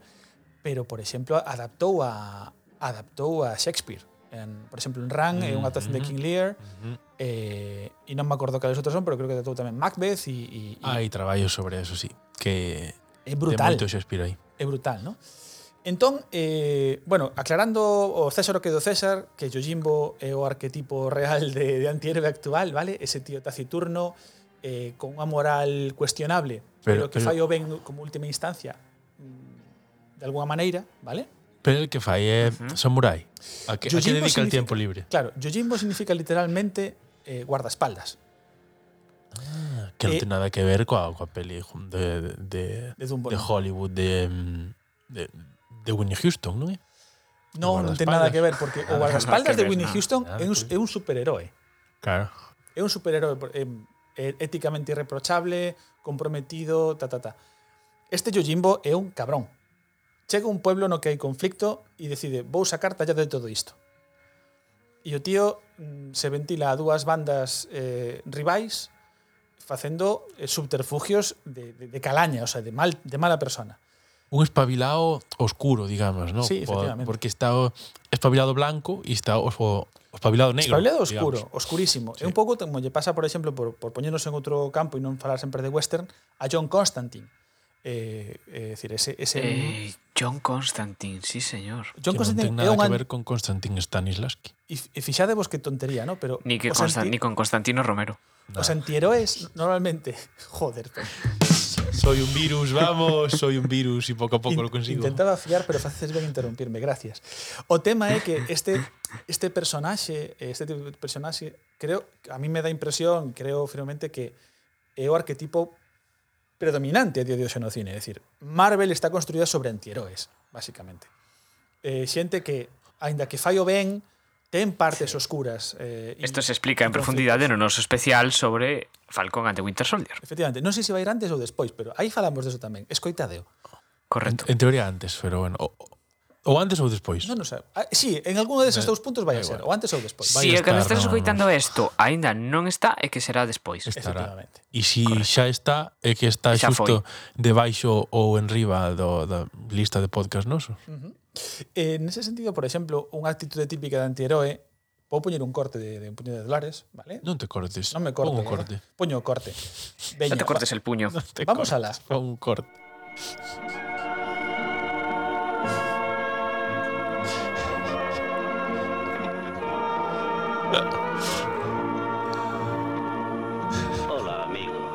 [SPEAKER 2] pero por exemplo adaptou a adaptou a Shakespeare. En, por exemplo, en Rang é unha actuación de King Lear, eh, e non me acordo cales outros son, pero creo que adaptou tamén Macbeth e, e, e
[SPEAKER 3] Hai traballos sobre eso, sí. Que
[SPEAKER 2] é brutal.
[SPEAKER 3] Ten moito Shakespeare aí.
[SPEAKER 2] é brutal, ¿no? Entón, eh, bueno, aclarando o César o que do César, que Yojimbo é o arquetipo real de, de antihéroe actual, vale? Ese tío taciturno, eh, con unha moral cuestionable, pero,
[SPEAKER 3] Pero-
[SPEAKER 2] que
[SPEAKER 3] pero-
[SPEAKER 2] fallo ben como última instancia, mm, de alguna maneira, vale?
[SPEAKER 3] Pero el que fai é samurai. A que, a que
[SPEAKER 2] Yojimbo
[SPEAKER 3] dedica
[SPEAKER 2] significa-
[SPEAKER 3] el tiempo libre?
[SPEAKER 2] Claro, Yojimbo significa literalmente eh, guardaespaldas
[SPEAKER 3] Que non
[SPEAKER 2] Eh,
[SPEAKER 3] ten nada que ver coa, coa peli jun- de, de,
[SPEAKER 2] de Dumbo.
[SPEAKER 3] de
[SPEAKER 2] ¿no?
[SPEAKER 3] Hollywood de, mm, de, de Winnie Houston, non é?
[SPEAKER 2] No, non ten
[SPEAKER 3] guardaespaldas.
[SPEAKER 2] nada que ver, porque o
[SPEAKER 1] nada
[SPEAKER 2] guardaespaldas
[SPEAKER 1] que
[SPEAKER 2] de
[SPEAKER 1] ver,
[SPEAKER 2] Winnie
[SPEAKER 1] nada,
[SPEAKER 2] Houston
[SPEAKER 3] nada
[SPEAKER 2] é un,
[SPEAKER 3] que ver.
[SPEAKER 2] é un superheroe.
[SPEAKER 3] Claro.
[SPEAKER 2] É un superhéroe por- em, é éticamente irreprochable, comprometido, ta, ta, ta. Este Yojimbo é un cabrón. Chega a un pueblo no que hai conflicto e decide, vou sacar tallado de todo isto. E o tío mm, se ventila a dúas bandas eh, rivais facendo eh, subterfugios de, de, de calaña, o sea, de, mal, de mala persona.
[SPEAKER 3] Un espabilado oscuro, digamos, ¿no?
[SPEAKER 2] Sí, efectivamente.
[SPEAKER 3] porque está o espabilado blanco e está o, o espabilado negro.
[SPEAKER 2] Espabilado
[SPEAKER 3] digamos.
[SPEAKER 2] oscuro, oscurísimo. É un pouco como lle pasa, por exemplo, por, por poñernos en outro campo e non falar sempre de western, a John Constantine. Eh, eh, decir, ese, ese
[SPEAKER 1] Eh, John Constantine, sí, señor.
[SPEAKER 2] John
[SPEAKER 3] que non
[SPEAKER 2] Constantine é
[SPEAKER 3] ten nada
[SPEAKER 2] un
[SPEAKER 3] que
[SPEAKER 2] an-
[SPEAKER 3] ver con Konstantin Stanislavski.
[SPEAKER 2] e f- e fixadevos que tontería, ¿no? Pero
[SPEAKER 1] Ni, que
[SPEAKER 2] os,
[SPEAKER 1] Constan- ni
[SPEAKER 2] anti-
[SPEAKER 1] con Constantino Romero.
[SPEAKER 2] os antiheroes normalmente, joder, pero
[SPEAKER 3] Soy un virus, vamos, soy un virus y poco a poco
[SPEAKER 2] in-
[SPEAKER 3] lo consigo.
[SPEAKER 2] intentaba fiar, pero faces ben interrumpirme, gracias. O tema é que este este personaxe, este tipo de personaxe, creo a mí me dá impresión, creo firmemente que é o arquetipo predominante a día de hoxe no cine, é dicir, Marvel está construída sobre antiheroes, basicamente. Eh, xente que aínda que fallo ben, ten partes oscuras. Eh, e-
[SPEAKER 1] Esto se explica
[SPEAKER 2] e
[SPEAKER 1] en profundidade no noso especial sobre Falcon ante Winter Soldier.
[SPEAKER 2] Efectivamente, non sei se vai ir antes ou despois, pero aí falamos deso tamén. Escoitadeo.
[SPEAKER 3] En,
[SPEAKER 2] Eh,
[SPEAKER 1] Correcto.
[SPEAKER 3] en teoría antes, pero bueno. O, o antes ou despois.
[SPEAKER 2] Non, non sei. Ah, sí, en algúno deses dous puntos vai a
[SPEAKER 3] da
[SPEAKER 2] ser, ou
[SPEAKER 3] igual.
[SPEAKER 2] antes ou despois.
[SPEAKER 3] vai
[SPEAKER 1] Si é que me estás
[SPEAKER 3] estar, no,
[SPEAKER 1] escoitando isto aínda non está, é que será despois.
[SPEAKER 3] estará.
[SPEAKER 2] Efectivamente.
[SPEAKER 3] E si xa está, é que está
[SPEAKER 1] Xa foi.
[SPEAKER 3] xusto debaixo ou en riba do, da lista de podcast noso.
[SPEAKER 2] Eh, en ese sentido, por exemplo, unha actitude típica de antiheroe, vou poñer un corte de, de un puño de dólares, vale?
[SPEAKER 3] Non te cortes.
[SPEAKER 2] Non me eh. corto.
[SPEAKER 3] Pon un
[SPEAKER 2] ¿verdad?
[SPEAKER 3] corte.
[SPEAKER 2] Poño o corte. Veña,
[SPEAKER 1] Non te cortes el puño.
[SPEAKER 3] Te
[SPEAKER 2] Vamos
[SPEAKER 3] cortes,
[SPEAKER 2] alá.
[SPEAKER 3] Pon un corte.
[SPEAKER 4] Hola, amigo.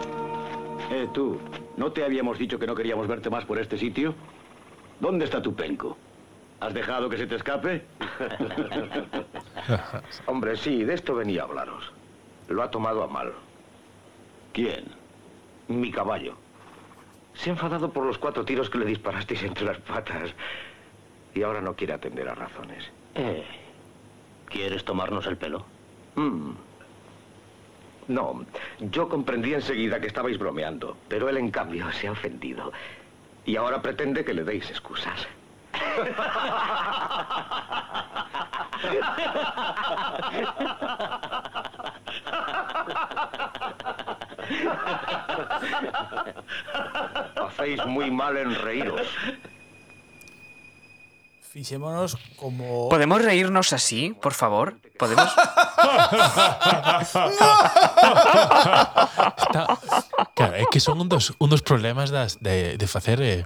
[SPEAKER 4] Eh, tú, ¿no te habíamos dicho que no queríamos verte más por este sitio? ¿Dónde está tu penco? ¿Has dejado que se te escape?
[SPEAKER 5] Hombre, sí, de esto venía a hablaros. Lo ha tomado a mal.
[SPEAKER 4] ¿Quién?
[SPEAKER 5] Mi caballo. Se ha enfadado por los cuatro tiros que le disparasteis entre las patas. Y ahora no quiere atender a razones.
[SPEAKER 4] Eh, ¿Quieres tomarnos el pelo?
[SPEAKER 5] Mm. No, yo comprendí enseguida que estabais bromeando, pero él en cambio se ha ofendido. Y ahora pretende que le deis excusas. Hacéis muy mal en reíros.
[SPEAKER 2] Fixémonos como...
[SPEAKER 1] ¿Podemos reírnos así, por favor? ¿Podemos?
[SPEAKER 3] Está, claro, é que son un dos, un dos problemas das, de, de facer eh,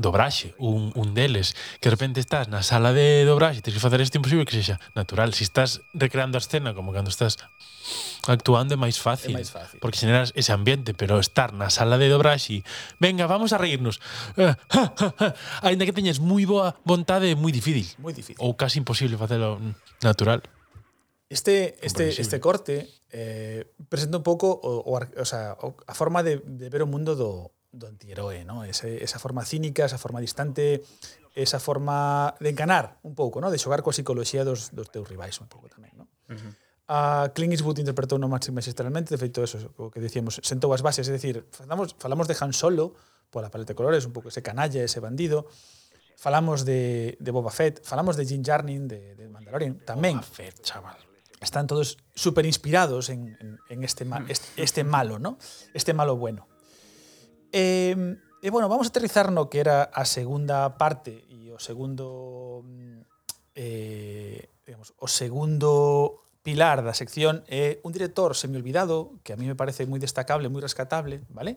[SPEAKER 3] dobraxe, un, un deles, que de repente estás na sala de dobraxe, tens que facer isto imposible que sexa natural. Si estás recreando a escena como cando estás actuando é máis fácil,
[SPEAKER 2] É máis fácil.
[SPEAKER 3] porque generas ese ambiente, pero estar na sala de dobraxe, venga, vamos a reírnos. Eh, Ainda que teñes moi boa vontade, é moi difícil.
[SPEAKER 2] Moi difícil.
[SPEAKER 3] Ou casi imposible facelo mm, natural.
[SPEAKER 2] Este, este,
[SPEAKER 3] Comprensible.
[SPEAKER 2] este corte eh, presenta un pouco o, o, ar- o sea, o, a forma de, de ver o mundo do, do antiheroe, ¿no? Ese, esa forma cínica, esa forma distante, esa forma de encanar un pouco, ¿no? de xogar coa psicología dos, dos teus rivais un pouco tamén. ¿no? Uh -huh. A Clint Eastwood interpretou no máximo magistralmente, de feito, eso, o que decíamos, sentou as bases, é dicir, falamos, falamos de Han Solo, pola paleta de colores, un pouco ese canalla, ese bandido, falamos de, de Boba Fett, falamos de Jim Jarnin, de, de Mandalorian, tamén. Boba Fett, chaval. Están todos súper inspirados en, en, en este, ma- este, este malo, ¿no? Este malo bueno. E, e bueno, vamos a aterrizar no que era a segunda parte e o segundo mm, eh, digamos, o segundo pilar da sección é un director semiolvidado que a mí me parece moi destacable, moi rescatable, vale?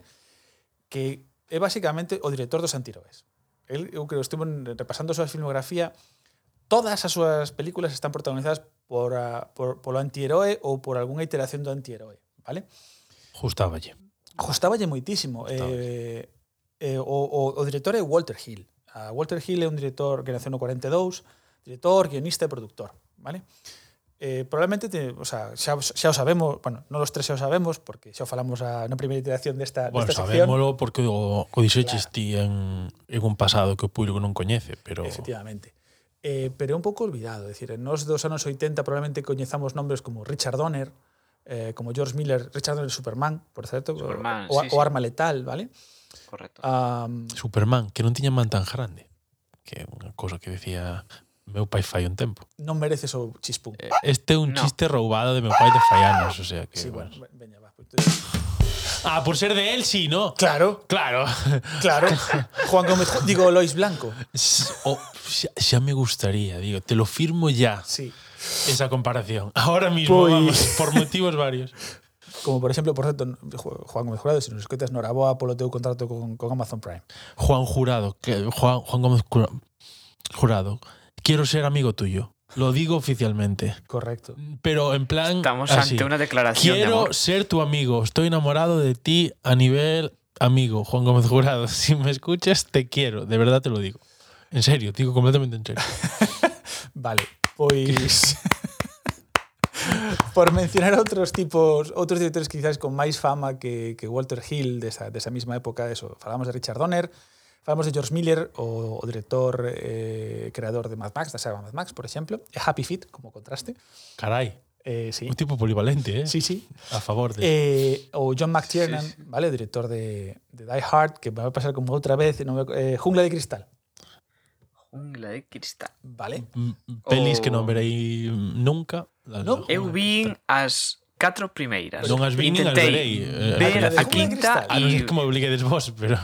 [SPEAKER 2] Que é basicamente o director dos antiroes. El, eu creo, estuve repasando a súa filmografía todas as súas películas están protagonizadas por, a, por, polo antiheroe ou por algunha iteración do antiheroe, vale?
[SPEAKER 3] Justáballe.
[SPEAKER 2] Costáballe moitísimo. Eh, eh, o, o, o director é Walter Hill. A Walter Hill é un director que nació no 42, director, guionista e productor, vale? Eh, probablemente te, o sea, xa, os- xa o sabemos, bueno, non os tres xa o sabemos porque xa o falamos a, na primeira iteración desta,
[SPEAKER 3] Bueno,
[SPEAKER 2] desta sección.
[SPEAKER 3] sabémolo porque o, o dixeches ti en, en un pasado que o público non coñece, pero
[SPEAKER 2] Efectivamente. Eh, pero é un pouco olvidado, é dicir, nos dos anos 80 probablemente coñezamos nombres como Richard Donner, eh, como George Miller, Richard Donner Superman, por certo,
[SPEAKER 1] Superman,
[SPEAKER 2] o,
[SPEAKER 1] sí, sí.
[SPEAKER 2] o Arma Letal, vale?
[SPEAKER 1] Correcto.
[SPEAKER 2] Um,
[SPEAKER 3] Superman, que non tiña man tan grande, que é unha cosa que decía meu pai fai un tempo.
[SPEAKER 2] non mereces o chispum.
[SPEAKER 3] Eh, Este é un
[SPEAKER 1] No.
[SPEAKER 3] no. chiste roubado de meu pai de fai anos, o sea que...
[SPEAKER 2] Sí, bueno,
[SPEAKER 3] bueno.
[SPEAKER 2] ve- veña, va. pues,
[SPEAKER 3] Ah, por ser de él, sí, ¿no?
[SPEAKER 2] Claro,
[SPEAKER 3] Claro.
[SPEAKER 2] claro. Juan Gómez, digo Lois Blanco.
[SPEAKER 3] o, xa, xa me gustaría, digo, te lo firmo ya,
[SPEAKER 2] Sí.
[SPEAKER 3] esa comparación. Ahora mismo,
[SPEAKER 2] Pois.
[SPEAKER 3] vamos, por motivos varios.
[SPEAKER 2] Como por exemplo, por certo, Ju- Juan Gómez Jurado, se nos escoitas, noraboa polo teu contrato con, con Amazon Prime.
[SPEAKER 3] Juan Jurado, que, Juan, Juan Gómez Cura- Jurado, quiero ser amigo tuyo. Lo digo oficialmente.
[SPEAKER 2] Correcto.
[SPEAKER 3] Pero en plan.
[SPEAKER 1] Estamos
[SPEAKER 3] así.
[SPEAKER 1] ante una declaración de
[SPEAKER 3] Quiero
[SPEAKER 1] amor.
[SPEAKER 3] ser tu amigo. Estoy enamorado de ti a nivel amigo, Juan Gómez Jurado. Si me escuchas, te quiero. De verdad te lo digo. En serio, digo completamente en serio.
[SPEAKER 2] Vale, pois por mencionar outros tipos, outros directores quizás con máis fama que, que Walter Hill desa, desa mesma época, eso, falamos de Richard Donner, falamos de George Miller, o, o director eh, creador de Mad Max, da saga Mad Max, por exemplo, e Happy Feet, como contraste.
[SPEAKER 3] Caray,
[SPEAKER 2] Eh, sí.
[SPEAKER 3] un tipo polivalente, ¿eh?
[SPEAKER 2] Sí, sí.
[SPEAKER 3] A favor de.
[SPEAKER 2] Eh, o John McTiernan, vale, o director de, de Die Hard, que me va a pasar como outra vez, non me- eh, Jungla de Cristal,
[SPEAKER 1] Jungla de cristal.
[SPEAKER 2] vale?
[SPEAKER 3] Mm, Pelis
[SPEAKER 1] o-
[SPEAKER 3] que non verei nunca.
[SPEAKER 2] Non?
[SPEAKER 1] Eu vin as catro primeiras.
[SPEAKER 3] Non as vin, nin as
[SPEAKER 1] Intentei
[SPEAKER 3] verei. Eh,
[SPEAKER 1] ver
[SPEAKER 2] a primeira
[SPEAKER 1] a
[SPEAKER 2] de
[SPEAKER 1] quinta
[SPEAKER 2] Jungla
[SPEAKER 3] A Ah, non ser
[SPEAKER 1] e...
[SPEAKER 3] que me obliguedes vos, pero...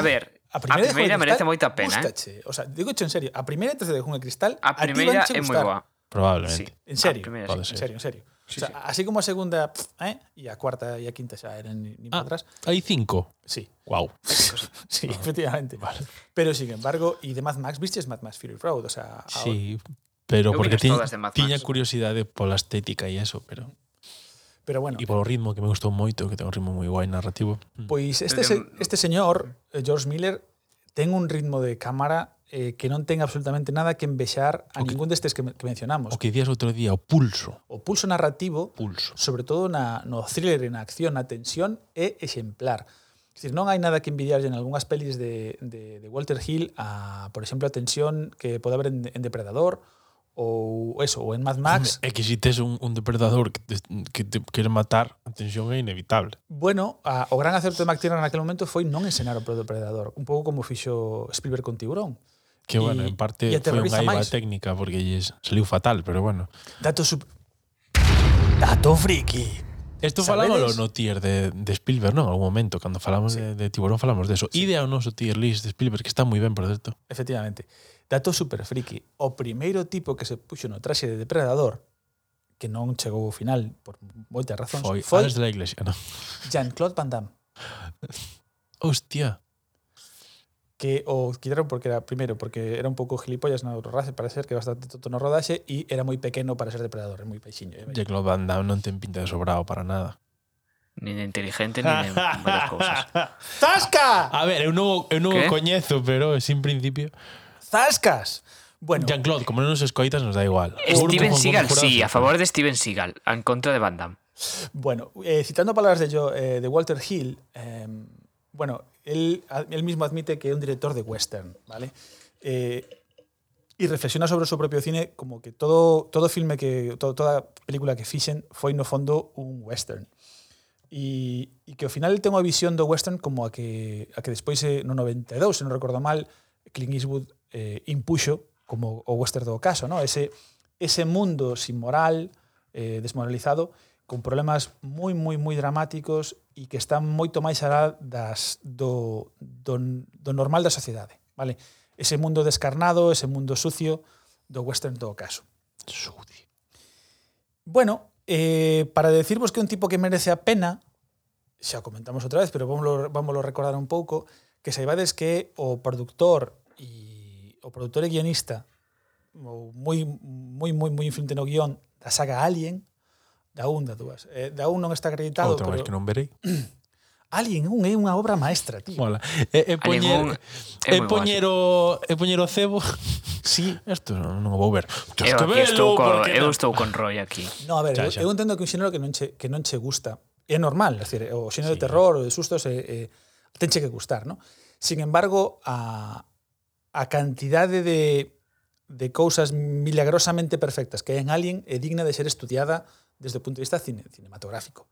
[SPEAKER 1] A ver, a primeira,
[SPEAKER 2] de Jungla de
[SPEAKER 1] merece
[SPEAKER 2] Cristal
[SPEAKER 1] moita pena, eh?
[SPEAKER 2] gustache. O sea, digo en serio, a primeira antes de Jungla de Cristal,
[SPEAKER 1] A
[SPEAKER 2] ti
[SPEAKER 1] primeira
[SPEAKER 2] vanche
[SPEAKER 1] é moi
[SPEAKER 2] gustar.
[SPEAKER 1] boa. Sí.
[SPEAKER 3] Probablemente.
[SPEAKER 2] En serio.
[SPEAKER 1] A primeira,
[SPEAKER 3] Pode
[SPEAKER 1] sí.
[SPEAKER 2] En
[SPEAKER 3] ser.
[SPEAKER 2] serio, en serio.
[SPEAKER 1] Sí,
[SPEAKER 2] o sea,
[SPEAKER 1] sí.
[SPEAKER 2] así como a segunda, pf, ¿eh? y a cuarta y a quinta ya eran ni, ni para
[SPEAKER 3] Ah,
[SPEAKER 2] atrás.
[SPEAKER 3] hai cinco.
[SPEAKER 2] Sí,
[SPEAKER 3] Wow.
[SPEAKER 2] sí, efectivamente. Pero sin embargo, y de Mad Max, ¿viste Mad Max Fury Road? O sea, a-
[SPEAKER 3] Sí, pero
[SPEAKER 1] Eu vi
[SPEAKER 3] porque
[SPEAKER 1] as
[SPEAKER 3] tiña,
[SPEAKER 1] todas de Mad Max.
[SPEAKER 3] tiña curiosidade pola estética e eso, pero
[SPEAKER 2] pero bueno.
[SPEAKER 3] e polo ritmo que me gustou moito, que ten un ritmo moi guai narrativo.
[SPEAKER 2] Pois este, se- este señor, eh, George Miller, ten un ritmo de cámara eh, que non ten absolutamente nada que envexar a
[SPEAKER 3] O que-
[SPEAKER 2] ningún destes que, men- que mencionamos.
[SPEAKER 3] O que días outro día, o pulso,
[SPEAKER 2] O pulso narrativo
[SPEAKER 3] pulso.
[SPEAKER 2] sobre todo na, no thriller e na acción, na tensión, é exemplar. Quer Dicir, non hai nada que envidiarlle en algunhas pelis de, de, de Walter Hill a, por exemplo, a tensión que pode haber en, en Depredador ou eso, ou en Mad Max. eh.
[SPEAKER 3] É que si tes un, un depredador que te, que te quere matar, tensión é inevitable.
[SPEAKER 2] Bueno, a, o gran acerto de McTiernan naquele momento foi non ensenar o Predador, un pouco como fixo Spielberg con Tiburón.
[SPEAKER 3] Que,
[SPEAKER 2] E-
[SPEAKER 3] bueno, en parte
[SPEAKER 2] e
[SPEAKER 3] foi unha
[SPEAKER 2] aterroriza
[SPEAKER 3] iba
[SPEAKER 2] máis.
[SPEAKER 3] técnica porque lles saliu fatal, pero bueno.
[SPEAKER 2] Dato sub... Dato friki.
[SPEAKER 3] Esto
[SPEAKER 2] Sabedes?
[SPEAKER 3] falámoslo no tier de, de Spielberg, non? En algún momento, cando falamos de, de Tiburón, falamos de eso. Sí. Idea o noso tier list de Spielberg, que está moi ben, por certo.
[SPEAKER 2] Efectivamente. Dato super friki. O primeiro tipo que se puxo no traxe de depredador que non chegou ao final por moitas razóns
[SPEAKER 3] Foi,
[SPEAKER 2] foi,
[SPEAKER 3] foi Alex de la Iglesia, non?
[SPEAKER 2] Jean-Claude Van Damme
[SPEAKER 3] Hostia.
[SPEAKER 2] que o quitaron porque era primeiro porque era un pouco gilipollas na rodaxe para ser que bastante toto no rodaxe e era moi pequeno para ser depredador, é moi peixiño. é
[SPEAKER 3] Jack Love Van Damme non ten pinta de sobrado para nada.
[SPEAKER 1] Ni de inteligente, ni de varias cosas.
[SPEAKER 2] ¡Zasca!
[SPEAKER 3] A ver, eu non, o- eu non o
[SPEAKER 1] ¿Qué?
[SPEAKER 3] coñezo, pero sin principio...
[SPEAKER 2] ¡Zascas! Bueno,
[SPEAKER 3] Jean-Claude, como non nos escoitas, nos da igual. Seguro que
[SPEAKER 1] Steven
[SPEAKER 3] Juan
[SPEAKER 1] Seagal,
[SPEAKER 3] Jurado
[SPEAKER 1] sí,
[SPEAKER 3] se-
[SPEAKER 1] a favor de Steven Seagal, en contra de Van Damme.
[SPEAKER 2] Bueno, eh, citando palabras de, yo, eh, de Walter Hill, eh, bueno, él, a- él mismo admite que es un director de western, ¿vale? Eh, y reflexiona sobre su propio cine como que todo, todo filme que, to- toda película que fixen foi no fondo un western. E, e que ao final ten unha visión do western como a que, a que despois eh, no 92, se non recordo mal, Clint Eastwood eh, impuxo como o western do caso, ¿no? ese, ese mundo sin moral, eh, desmoralizado, con problemas moi, moi, moi dramáticos e que están moito máis alá das, do, do, do normal da sociedade. Vale? Ese mundo descarnado, ese mundo sucio do western do caso.
[SPEAKER 3] Sucio.
[SPEAKER 2] Bueno, eh, para decirvos que é un tipo que merece a pena, xa o comentamos outra vez, pero vámoslo, vámoslo recordar un pouco, que saibades que o productor e o produtor e guionista o moi moi moi moi influente no guión da saga Alien, da un da dúas. Eh, da un non está acreditado,
[SPEAKER 3] Outra
[SPEAKER 2] pero
[SPEAKER 3] máis que non verei.
[SPEAKER 2] Alien un é unha obra maestra, tío.
[SPEAKER 3] Mola.
[SPEAKER 1] Alien
[SPEAKER 3] E, e poñer,
[SPEAKER 1] un- é
[SPEAKER 3] e
[SPEAKER 1] moi
[SPEAKER 3] poñer o, e poñer o cebo. Sí, isto non, non o vou ver. Tes
[SPEAKER 1] Eu, aquí
[SPEAKER 3] que
[SPEAKER 1] estou
[SPEAKER 3] velo,
[SPEAKER 1] co,
[SPEAKER 3] porque
[SPEAKER 1] eu
[SPEAKER 3] non.
[SPEAKER 1] estou con Roy aquí.
[SPEAKER 2] No, a ver, eu,
[SPEAKER 3] Xa, xa.
[SPEAKER 2] eu entendo que un xénero que non che, que non che gusta é normal, é dicir, o xénero sí. de terror ou de sustos eh, é, é tenche que gustar, ¿no? Sin embargo, a a cantidade de de cousas milagrosamente perfectas que hai en Alien é digna de ser estudiada desde o punto de vista cine, cinematográfico.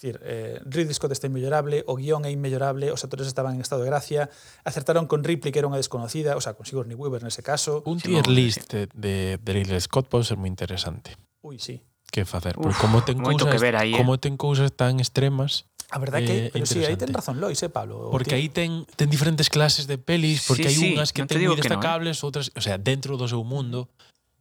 [SPEAKER 2] Es decir, eh, Ridley Scott está inmellorable, o guión é inmellorable, os actores estaban en estado de gracia, acertaron con Ripley, que era unha desconocida, o sea, con Sigourney Weaver nese caso.
[SPEAKER 3] Un
[SPEAKER 1] Sí,
[SPEAKER 3] tier
[SPEAKER 1] vamos,
[SPEAKER 3] list de, de, de Ridley Scott pode ser moi interesante.
[SPEAKER 2] Ui, sí.
[SPEAKER 3] Que facer?
[SPEAKER 1] Uf,
[SPEAKER 3] Porque como ten
[SPEAKER 1] moito
[SPEAKER 3] cousas,
[SPEAKER 1] que ver aí, eh.
[SPEAKER 3] como ten cousas tan extremas,
[SPEAKER 2] A verdad
[SPEAKER 3] Eh,
[SPEAKER 2] que, pero sí, aí
[SPEAKER 3] interesante.
[SPEAKER 2] ten razón Lois, eh, Pablo. O
[SPEAKER 3] porque
[SPEAKER 2] ti-
[SPEAKER 3] aí ten ten diferentes clases de pelis, porque
[SPEAKER 1] Sí,
[SPEAKER 3] hai
[SPEAKER 1] sí,
[SPEAKER 3] unhas que
[SPEAKER 1] non te
[SPEAKER 3] ten
[SPEAKER 1] digo
[SPEAKER 3] moi
[SPEAKER 1] que non, eh.
[SPEAKER 3] destacables, outras, o sea, dentro do seu mundo,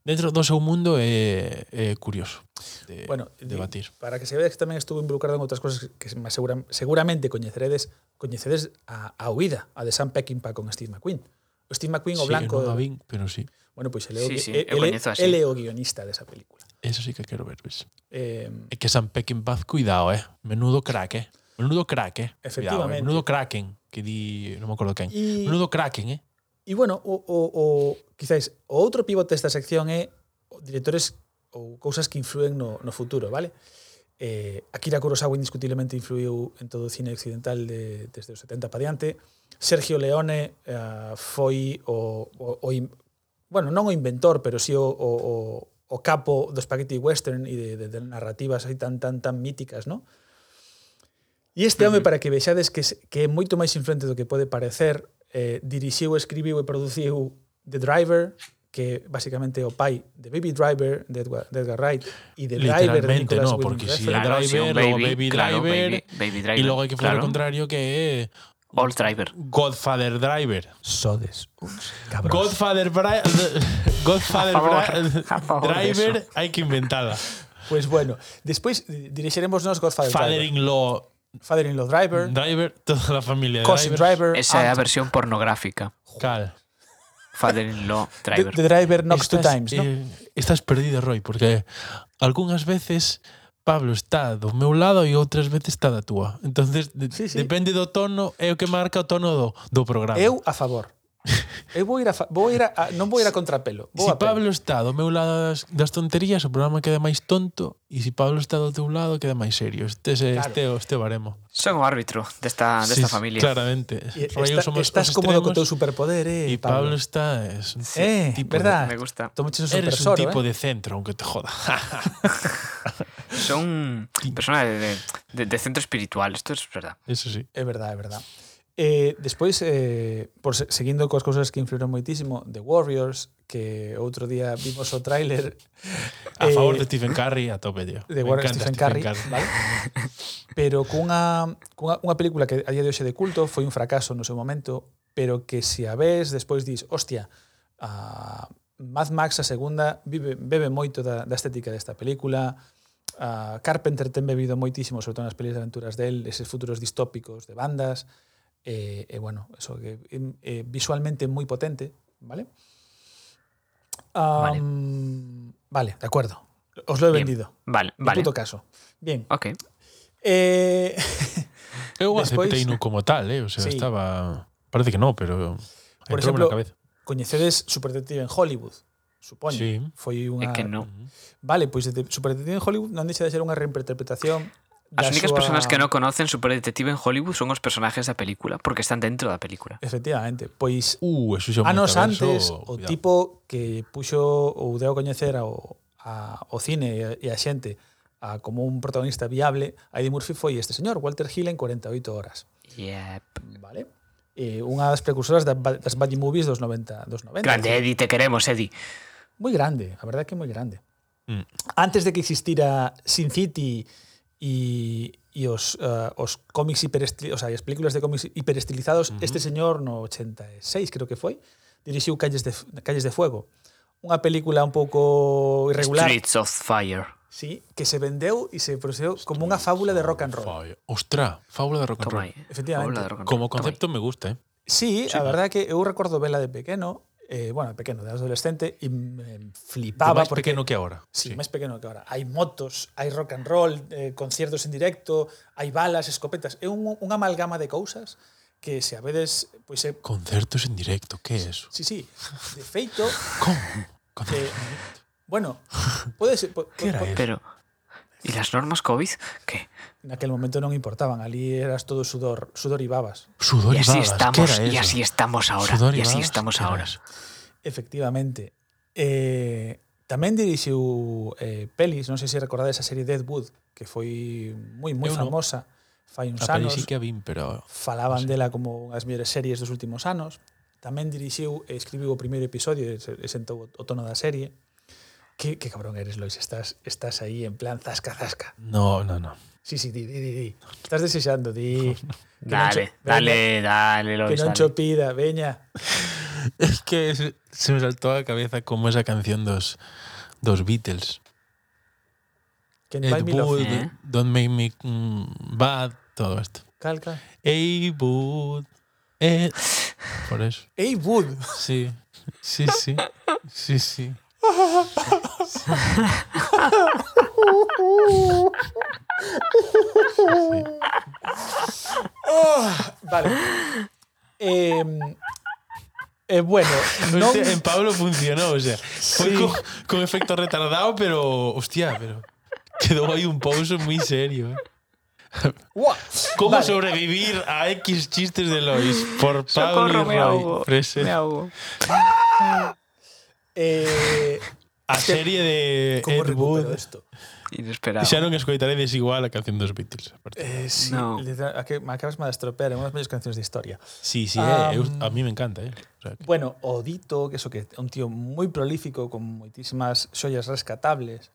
[SPEAKER 3] dentro do seu mundo é, é curioso de,
[SPEAKER 2] bueno,
[SPEAKER 3] de
[SPEAKER 2] di-
[SPEAKER 3] batir.
[SPEAKER 2] Para que se vea que tamén estuvo involucrado en outras cousas que máis segura, seguramente coñeceredes, coñecedes a, a huida, a de Sam Peckinpah con Steve McQueen. O Steve McQueen o
[SPEAKER 3] Sí,
[SPEAKER 2] blanco,
[SPEAKER 3] non a vin, pero sí.
[SPEAKER 2] bueno, pois ele é o
[SPEAKER 1] Sí,
[SPEAKER 2] gui-
[SPEAKER 1] sí,
[SPEAKER 2] e-
[SPEAKER 1] eu
[SPEAKER 2] ele,
[SPEAKER 1] coñezo así.
[SPEAKER 2] ele é o guionista desa película.
[SPEAKER 3] Eso sí que quero ver, ves.
[SPEAKER 2] Eh,
[SPEAKER 3] É que San Peckinpah, cuidado, eh. Menudo crack, eh. Menudo crack, eh. Cuidado, eh.
[SPEAKER 2] Efectivamente.
[SPEAKER 3] Menudo kraken, que di, non me acordo quen.
[SPEAKER 2] Y-
[SPEAKER 3] Menudo kraken, eh.
[SPEAKER 2] E bueno, o, o, o quizáis o outro pivote desta sección é o directores ou cousas que influen no, no futuro, vale? Eh, Akira Kurosawa indiscutiblemente influiu en todo o cine occidental de, desde os 70 para diante. Sergio Leone eh, foi o, o, o in, bueno, non o inventor, pero sí o, o, o, o capo do spaghetti western e de, de, de narrativas aí tan tan tan míticas, non? E este home, para que vexades que, es- que é moito máis influente do que pode parecer, eh, dirixiu, escribiu e produciu The Driver, que basicamente é o pai de Baby Driver, de Edgar, de Edgar Wright, e The Driver de
[SPEAKER 3] Literalmente,
[SPEAKER 2] Nicolas
[SPEAKER 3] no,
[SPEAKER 2] Winding
[SPEAKER 3] porque si
[SPEAKER 2] Refn.
[SPEAKER 3] el
[SPEAKER 1] Claro, si
[SPEAKER 3] driver,
[SPEAKER 1] un
[SPEAKER 3] luego
[SPEAKER 1] baby,
[SPEAKER 3] baby
[SPEAKER 1] claro,
[SPEAKER 3] driver,
[SPEAKER 1] baby- baby
[SPEAKER 3] y
[SPEAKER 1] driver,
[SPEAKER 3] luego hay que fuera
[SPEAKER 1] claro.
[SPEAKER 3] al contrario que es
[SPEAKER 1] All Driver.
[SPEAKER 3] Godfather Driver.
[SPEAKER 2] Sodes, uns cabróns.
[SPEAKER 3] Godfather, Bri- Godfather
[SPEAKER 1] A favor,
[SPEAKER 3] Bri-
[SPEAKER 1] a favor de
[SPEAKER 3] Driver, hay que inventarla.
[SPEAKER 2] Pois pues bueno, despois eh, dirixiremos nos Godfather Driver,
[SPEAKER 3] Father-in-law
[SPEAKER 2] Father-in-Law Driver,
[SPEAKER 3] Driver, toda la familia de
[SPEAKER 2] Cousin
[SPEAKER 3] drivers.
[SPEAKER 2] Driver,
[SPEAKER 1] Esa é a
[SPEAKER 2] Aunt-
[SPEAKER 1] versión pornográfica.
[SPEAKER 3] Cal.
[SPEAKER 1] Father-in-law Driver.
[SPEAKER 2] The, the Driver Knocks Two
[SPEAKER 3] Estás,
[SPEAKER 2] Times, ¿no?
[SPEAKER 3] eh, estás perdido, Roy, porque algunhas veces Pablo está do meu lado e outras veces está da túa. Entonces, de,
[SPEAKER 2] Sí, sí.
[SPEAKER 3] depende do tono, é o que marca o tono do, do programa.
[SPEAKER 2] Eu a favor. Eu vou ir a, fa- vou ir a, a non vou ir a contrapelo, vou
[SPEAKER 3] Si
[SPEAKER 2] a pelo.
[SPEAKER 3] Pablo está do meu lado das, das tonterías, o programa queda máis tonto e se Pablo está do teu lado, queda máis serio. Este é
[SPEAKER 2] Claro.
[SPEAKER 3] este, é o- este é o baremo.
[SPEAKER 1] Son o árbitro desta, desta
[SPEAKER 3] Sí,
[SPEAKER 1] Ah, familia.
[SPEAKER 3] Claramente.
[SPEAKER 2] E
[SPEAKER 3] Roy, eu
[SPEAKER 2] Esta,
[SPEAKER 3] somos
[SPEAKER 2] estás
[SPEAKER 3] os
[SPEAKER 2] cómodo co teu
[SPEAKER 3] extremos
[SPEAKER 2] superpoder, eh,
[SPEAKER 3] E Pablo está... Es un
[SPEAKER 2] Eh,
[SPEAKER 3] tipo
[SPEAKER 2] verdad.
[SPEAKER 1] Me gusta.
[SPEAKER 2] Tomaches o
[SPEAKER 3] De,
[SPEAKER 2] ¿eh?
[SPEAKER 3] eres
[SPEAKER 2] supersoro,
[SPEAKER 3] un tipo
[SPEAKER 2] eh?
[SPEAKER 3] de centro, aunque te joda.
[SPEAKER 1] Son personas de, de- de, de centro espiritual, esto es verdad.
[SPEAKER 3] Eso sí.
[SPEAKER 2] É verdad, é verdad. Eh, despois, eh, por se, seguindo coas cousas que influíron moitísimo, The Warriors, que outro día vimos o tráiler Eh,
[SPEAKER 3] A favor de Stephen Curry, a tope, tío.
[SPEAKER 2] de
[SPEAKER 3] Me
[SPEAKER 2] Warriors
[SPEAKER 3] encanta
[SPEAKER 2] Stephen Curry, vale? pero cunha, cunha unha película que a día de hoxe é de culto, foi un fracaso no seu momento, pero que se a ves despois dis, hostia, a Mad Max a segunda vive, bebe moito da, da estética desta película, a Carpenter ten bebido moitísimo, sobre todo nas pelis de aventuras del, eses futuros distópicos de bandas, e, e bueno, eso que em, eh, visualmente moi potente, vale?
[SPEAKER 1] Vale.
[SPEAKER 2] Um, vale, de acuerdo. Os lo he
[SPEAKER 1] Bien.
[SPEAKER 2] vendido.
[SPEAKER 1] Vale,
[SPEAKER 2] En
[SPEAKER 1] vale. Ah.
[SPEAKER 2] puto caso. Bien.
[SPEAKER 1] Ok.
[SPEAKER 2] Eh,
[SPEAKER 3] Eu
[SPEAKER 2] Despois-
[SPEAKER 3] aceptei no como tal, eh? O sea,
[SPEAKER 2] Sí.
[SPEAKER 3] sí. estaba... Parece que no, pero...
[SPEAKER 2] Por
[SPEAKER 3] Por
[SPEAKER 2] exemplo,
[SPEAKER 3] na cabeza.
[SPEAKER 2] coñecedes Superdetective en Hollywood, supoño.
[SPEAKER 3] Sí.
[SPEAKER 2] Foi unha
[SPEAKER 1] É que no.
[SPEAKER 2] Vale, pois de Superdetective en Hollywood non deixa de ser unha reinterpretación
[SPEAKER 1] As
[SPEAKER 2] da
[SPEAKER 1] únicas
[SPEAKER 2] súa-
[SPEAKER 1] personas que no conocen Super Detective en Hollywood son os personajes da película, porque están dentro da película.
[SPEAKER 2] Efectivamente, pois
[SPEAKER 3] Uh, eso xa é un
[SPEAKER 2] anos
[SPEAKER 3] metaverso,
[SPEAKER 2] antes Ah, o
[SPEAKER 3] cuidado.
[SPEAKER 2] tipo que puxo ou deu a coñecer ao a, o cine e a xente a, como un protagonista viable a Eddie Murphy foi este señor, Walter Hill en 48 horas.
[SPEAKER 1] Yep.
[SPEAKER 2] Vale? Eh, unha das precursoras da- das buddy movies dos 90, dos 90.
[SPEAKER 1] Grande, Eddie, te queremos, Eddie.
[SPEAKER 2] Moi grande, a verdade é que moi grande.
[SPEAKER 3] Mm.
[SPEAKER 2] Antes de que existira Sin City e, e os, uh, os cómics hiperestilizados, o sea, e as películas de cómics hiperestilizados, uh -huh. este señor no 86, creo que foi, dirixiu Calles de, Calles de Fuego. Unha película un pouco irregular,
[SPEAKER 1] Streets of Fire.
[SPEAKER 2] sí, que se vendeu e se procedeu como unha fábula de rock and roll.
[SPEAKER 3] Fábula. Ostra, fábula de rock and
[SPEAKER 1] Toma
[SPEAKER 3] roll.
[SPEAKER 1] aí.
[SPEAKER 2] Efectivamente.
[SPEAKER 1] Hola, rock and
[SPEAKER 3] Como
[SPEAKER 1] roll. Toma aí.
[SPEAKER 3] concepto me gusta, eh?
[SPEAKER 2] Sí, sí, a verdade é que eu recordo vela de pequeno, eh, bueno, de pequeno, de adolescente, e me
[SPEAKER 3] De
[SPEAKER 2] flipaba
[SPEAKER 3] máis
[SPEAKER 2] Ah, porque
[SPEAKER 3] pequeno que ahora.
[SPEAKER 2] Sí, máis pequeno que ahora. Hai motos, hai rock and roll, eh, conciertos en directo, hai balas, escopetas. É un, unha amalgama de cousas que se a vedes, pois é...
[SPEAKER 3] Concertos en directo, que é eso?
[SPEAKER 2] Sí, sí. De feito,
[SPEAKER 3] Como?
[SPEAKER 2] eh, bueno, pode ser... Po,
[SPEAKER 3] Que era
[SPEAKER 2] po-
[SPEAKER 3] eso?
[SPEAKER 1] Pero. ¿Y las normas COVID? ¿Qué?
[SPEAKER 2] naquel momento non importaban, ali eras todo sudor, sudor e babas.
[SPEAKER 3] Sudor
[SPEAKER 1] Y
[SPEAKER 3] y
[SPEAKER 1] así
[SPEAKER 3] babas, que
[SPEAKER 1] estamos,
[SPEAKER 3] era
[SPEAKER 1] y
[SPEAKER 3] eso?
[SPEAKER 1] así estamos ahora.
[SPEAKER 3] Sudor
[SPEAKER 1] Y así
[SPEAKER 3] babas,
[SPEAKER 1] estamos
[SPEAKER 3] que era
[SPEAKER 1] ahora.
[SPEAKER 3] eso?
[SPEAKER 2] Efectivamente. Eh, tamén dirixiu eh, pelis, non sei se recordades a serie Deadwood, que foi moi moi
[SPEAKER 3] Eu non.
[SPEAKER 2] famosa fai uns
[SPEAKER 3] A peli
[SPEAKER 2] anos.
[SPEAKER 3] sí que a vin, pero...
[SPEAKER 2] falaban
[SPEAKER 3] Sí.
[SPEAKER 2] dela como unha das mellores series dos últimos anos. Tamén dirixiu e escribiu o primeiro episodio e se- e sentou o- o tono da serie. Que, que cabrón eres, Lois, estás, estás aí en plan zasca, zasca.
[SPEAKER 3] No, no, no.
[SPEAKER 2] Sí, sí, di, di, di, di. Estás desexando, di. Que non cho-
[SPEAKER 1] Dale, dale, dale,
[SPEAKER 2] Veña, que
[SPEAKER 1] Lois,
[SPEAKER 2] non
[SPEAKER 1] dale.
[SPEAKER 2] chopida, veña.
[SPEAKER 3] Es que se, se me saltó a la cabeza como esa canción dos, dos Beatles.
[SPEAKER 2] Que non vai
[SPEAKER 3] Ed
[SPEAKER 2] mi love.
[SPEAKER 3] Wood,
[SPEAKER 1] Eh.
[SPEAKER 3] Don't Make Me mm, Bad, todo esto.
[SPEAKER 2] Calca.
[SPEAKER 3] Ey, Wood, Ed... Por eso.
[SPEAKER 2] Ey, Wood.
[SPEAKER 3] Sí, sí, sí. Sí, sí. Sí. Sí.
[SPEAKER 2] Oh, Vale. Eh, eh, bueno, non...
[SPEAKER 3] Hostia, en Pablo funcionó, o sea, fue
[SPEAKER 2] Sí.
[SPEAKER 3] con, con efecto retardado, pero hostia, pero quedó ahí un pause muy serio. ¿eh?
[SPEAKER 2] Ua.
[SPEAKER 3] ¿Cómo
[SPEAKER 2] Vale.
[SPEAKER 3] sobrevivir a X chistes de Lois por Pablo
[SPEAKER 1] Socorro,
[SPEAKER 3] y
[SPEAKER 1] me ahogo.
[SPEAKER 3] Roy Freser?
[SPEAKER 1] Me ahogo.
[SPEAKER 2] Eh,
[SPEAKER 3] A serie de
[SPEAKER 2] como
[SPEAKER 3] Ed
[SPEAKER 2] recupero
[SPEAKER 3] Wood.
[SPEAKER 2] isto?
[SPEAKER 1] Inesperado.
[SPEAKER 3] Xa non escoitarei desigual a canción dos Beatles. aparte.
[SPEAKER 2] Eh, sí,
[SPEAKER 1] No.
[SPEAKER 2] literal- a que me acabas de estropear en unas mellores canciones de historia.
[SPEAKER 3] Sí, sí,
[SPEAKER 2] Ah,
[SPEAKER 3] eh, eu-
[SPEAKER 1] mm.
[SPEAKER 3] a mí me encanta, eh. O sea, que-
[SPEAKER 2] Bueno, o Dito, que eso que é un tío moi prolífico con moitísimas xollas rescatables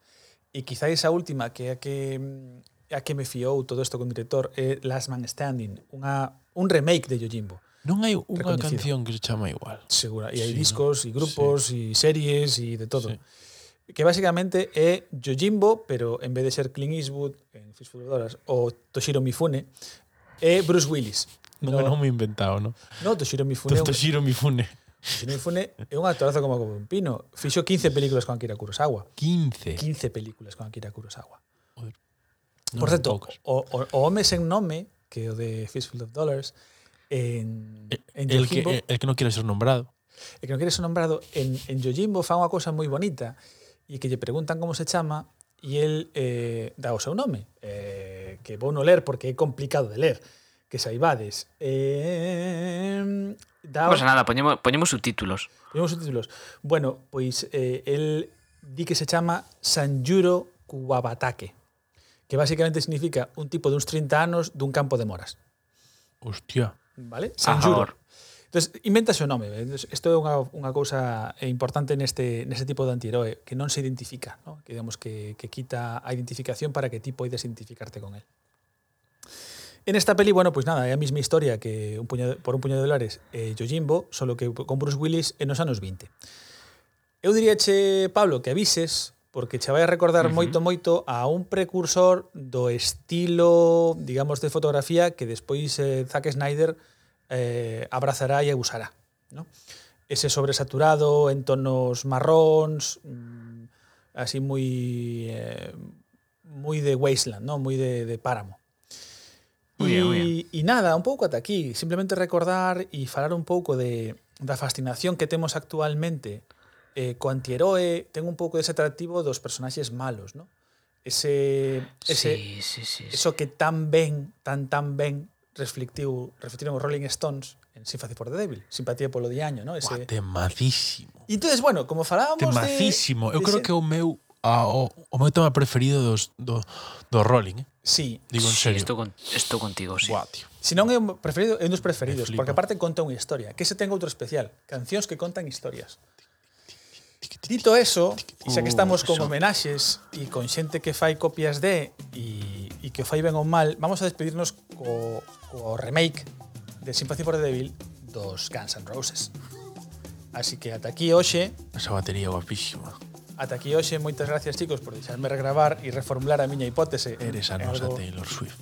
[SPEAKER 2] e quizá esa última que é a que mm, a que me fiou todo isto con director é Last Man Standing, unha un remake de Yojimbo.
[SPEAKER 3] non hai unha
[SPEAKER 2] Recoñecido.
[SPEAKER 3] canción que se chama igual.
[SPEAKER 2] Segura, e hai
[SPEAKER 3] Sí,
[SPEAKER 2] discos e
[SPEAKER 3] sí.
[SPEAKER 2] grupos e series e de todo.
[SPEAKER 3] Sí.
[SPEAKER 2] Que basicamente é Yojimbo, pero en vez de ser Clint Eastwood en Fistful of Dollars ou Toshiro Mifune, é Bruce Willis.
[SPEAKER 3] Non, non me he inventado, non?
[SPEAKER 2] No, Toshiro Mifune, é un-
[SPEAKER 3] Toshiro Mifune.
[SPEAKER 2] Toshiro Mifune é un actorazo como como un pino. Fixo 15 películas con Akira Kurosawa.
[SPEAKER 3] 15.
[SPEAKER 2] 15 películas con Akira Kurosawa.
[SPEAKER 3] Non,
[SPEAKER 2] Por certo,
[SPEAKER 3] poucas.
[SPEAKER 2] o, o, o home sen nome, que é o de Fistful of Dollars, en, en
[SPEAKER 3] Eh, el que,
[SPEAKER 2] Yojimbo,
[SPEAKER 3] el- el que no quiere ser nombrado.
[SPEAKER 2] e que non quere ser nombrado, en, en Yojimbo fa unha cosa moi bonita e que lle preguntan como se chama e el eh, dá o seu nome eh, que vou non ler porque é complicado de ler que saibades eh,
[SPEAKER 1] No
[SPEAKER 2] dá o-
[SPEAKER 1] pasa nada, poñemos, poñemos subtítulos.
[SPEAKER 2] Tenemos subtítulos. Bueno, pues, pois eh, el di que se chama Sanjuro Kuwabatake, que basicamente significa un tipo de unos 30 anos dun campo de moras.
[SPEAKER 3] Hostia.
[SPEAKER 2] Vale? Sanjuro. Entón, inventa o nome. Entón, Isto é unha, unha cousa eh, importante neste, neste este tipo de antiheroe, que non se identifica, ¿no? que digamos que, que quita a identificación para que ti poides identificarte con él. En esta peli, bueno, pues nada, é a mesma historia que un puñado, por un puñado de dólares eh, Yojimbo, solo que con Bruce Willis en os anos 20. Eu diría, che, Pablo, que avises, porque che vai a recordar uh -huh. moito, moito a un precursor do estilo, digamos, de fotografía que despois eh, Zack Snyder eh, abrazará e abusará. ¿no? Ese sobresaturado, en tonos marróns, mm, así moi... Eh, moi de wasteland, ¿no? moi de, de páramo.
[SPEAKER 1] Muy bien, muy
[SPEAKER 2] Y, y nada, un pouco ata aquí, simplemente recordar e falar un pouco de da fascinación que temos actualmente eh, co antiheroe, ten un pouco dese atractivo dos personaxes malos, ¿no? Ese, ese
[SPEAKER 1] sí, sí, sí. sí.
[SPEAKER 2] eso que tan ben, tan tan ben reflectiu, reflectiron os Rolling Stones en Sympathy for the Devil, simpatía polo diaño, ¿no?
[SPEAKER 3] Buah,
[SPEAKER 2] Ese.
[SPEAKER 3] temadísimo.
[SPEAKER 2] E entonces, bueno, como falábamos
[SPEAKER 3] Temadísimo.
[SPEAKER 2] de
[SPEAKER 3] Eu creo
[SPEAKER 2] dese-
[SPEAKER 3] que é o meu a, o, o meu tema preferido dos do, do Rolling, eh?
[SPEAKER 2] Sí,
[SPEAKER 3] Digo en
[SPEAKER 1] Sí,
[SPEAKER 3] serio.
[SPEAKER 1] estou, con, estou contigo, sí.
[SPEAKER 3] Buah, tío.
[SPEAKER 2] Se non é un preferido, é un dos preferidos,
[SPEAKER 3] Me flipa.
[SPEAKER 2] porque aparte conta unha historia, que se ten outro especial, cancións que contan historias. Dito eso, xa que estamos con
[SPEAKER 1] eso.
[SPEAKER 2] homenaxes e con xente que fai copias de e, e que o fai ben ou mal, vamos a despedirnos co, co remake de Sympathy for the Devil dos Guns N' Roses. Así que ata aquí hoxe,
[SPEAKER 3] Esa batería guapísima.
[SPEAKER 2] ata aquí hoxe, moitas gracias chicos por deixarme regravar e reformular a miña hipótese en,
[SPEAKER 3] Eres a
[SPEAKER 2] en,
[SPEAKER 3] nosa
[SPEAKER 2] algo,
[SPEAKER 3] Taylor Swift.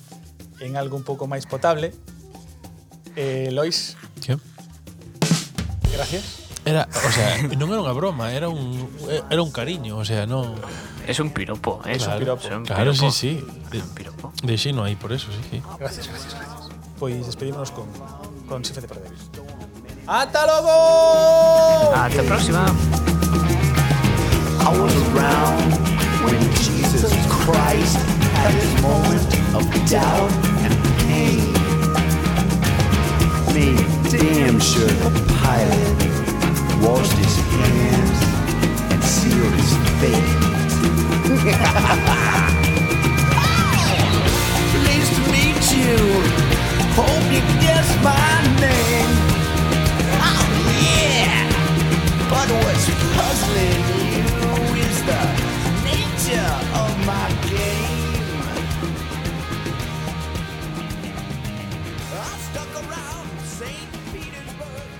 [SPEAKER 2] en algo un pouco máis potable. Eh, Lois,
[SPEAKER 3] Que?
[SPEAKER 2] gracias.
[SPEAKER 3] Era, o sea, non era unha broma, era un era un cariño, o sea, non
[SPEAKER 1] Es un piropo, ¿eh?
[SPEAKER 3] Claro,
[SPEAKER 2] piropo.
[SPEAKER 1] Es un
[SPEAKER 3] Claro, sí,
[SPEAKER 1] piropo.
[SPEAKER 3] sí.
[SPEAKER 1] Es un piropo.
[SPEAKER 3] De xino aí por eso, sí, sí.
[SPEAKER 2] Gracias, gracias, gracias. Pois despedímonos con, con Sympathy for the Devil. ¡Hasta luego!
[SPEAKER 1] Hasta la próxima.
[SPEAKER 6] I was around when Jesus Christ had his moment of doubt and pain. Made damn sure the pilot washed his hands and sealed his fate. Pleased to meet you. Hope you guess my name. Oh yeah. But what's puzzling you is the nature of my game. I stuck around St. Petersburg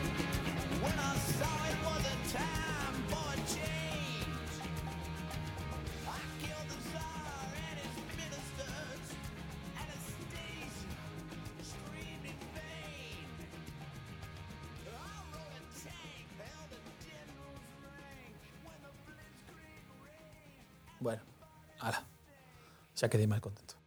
[SPEAKER 6] when I saw it was a time for change. I killed the Tsar and his ministers at a station screamed in vain. I'll roll a tank, held a general's rank when the blitzkrieg raged.
[SPEAKER 2] Bueno, ala. Xa quedei mal contento.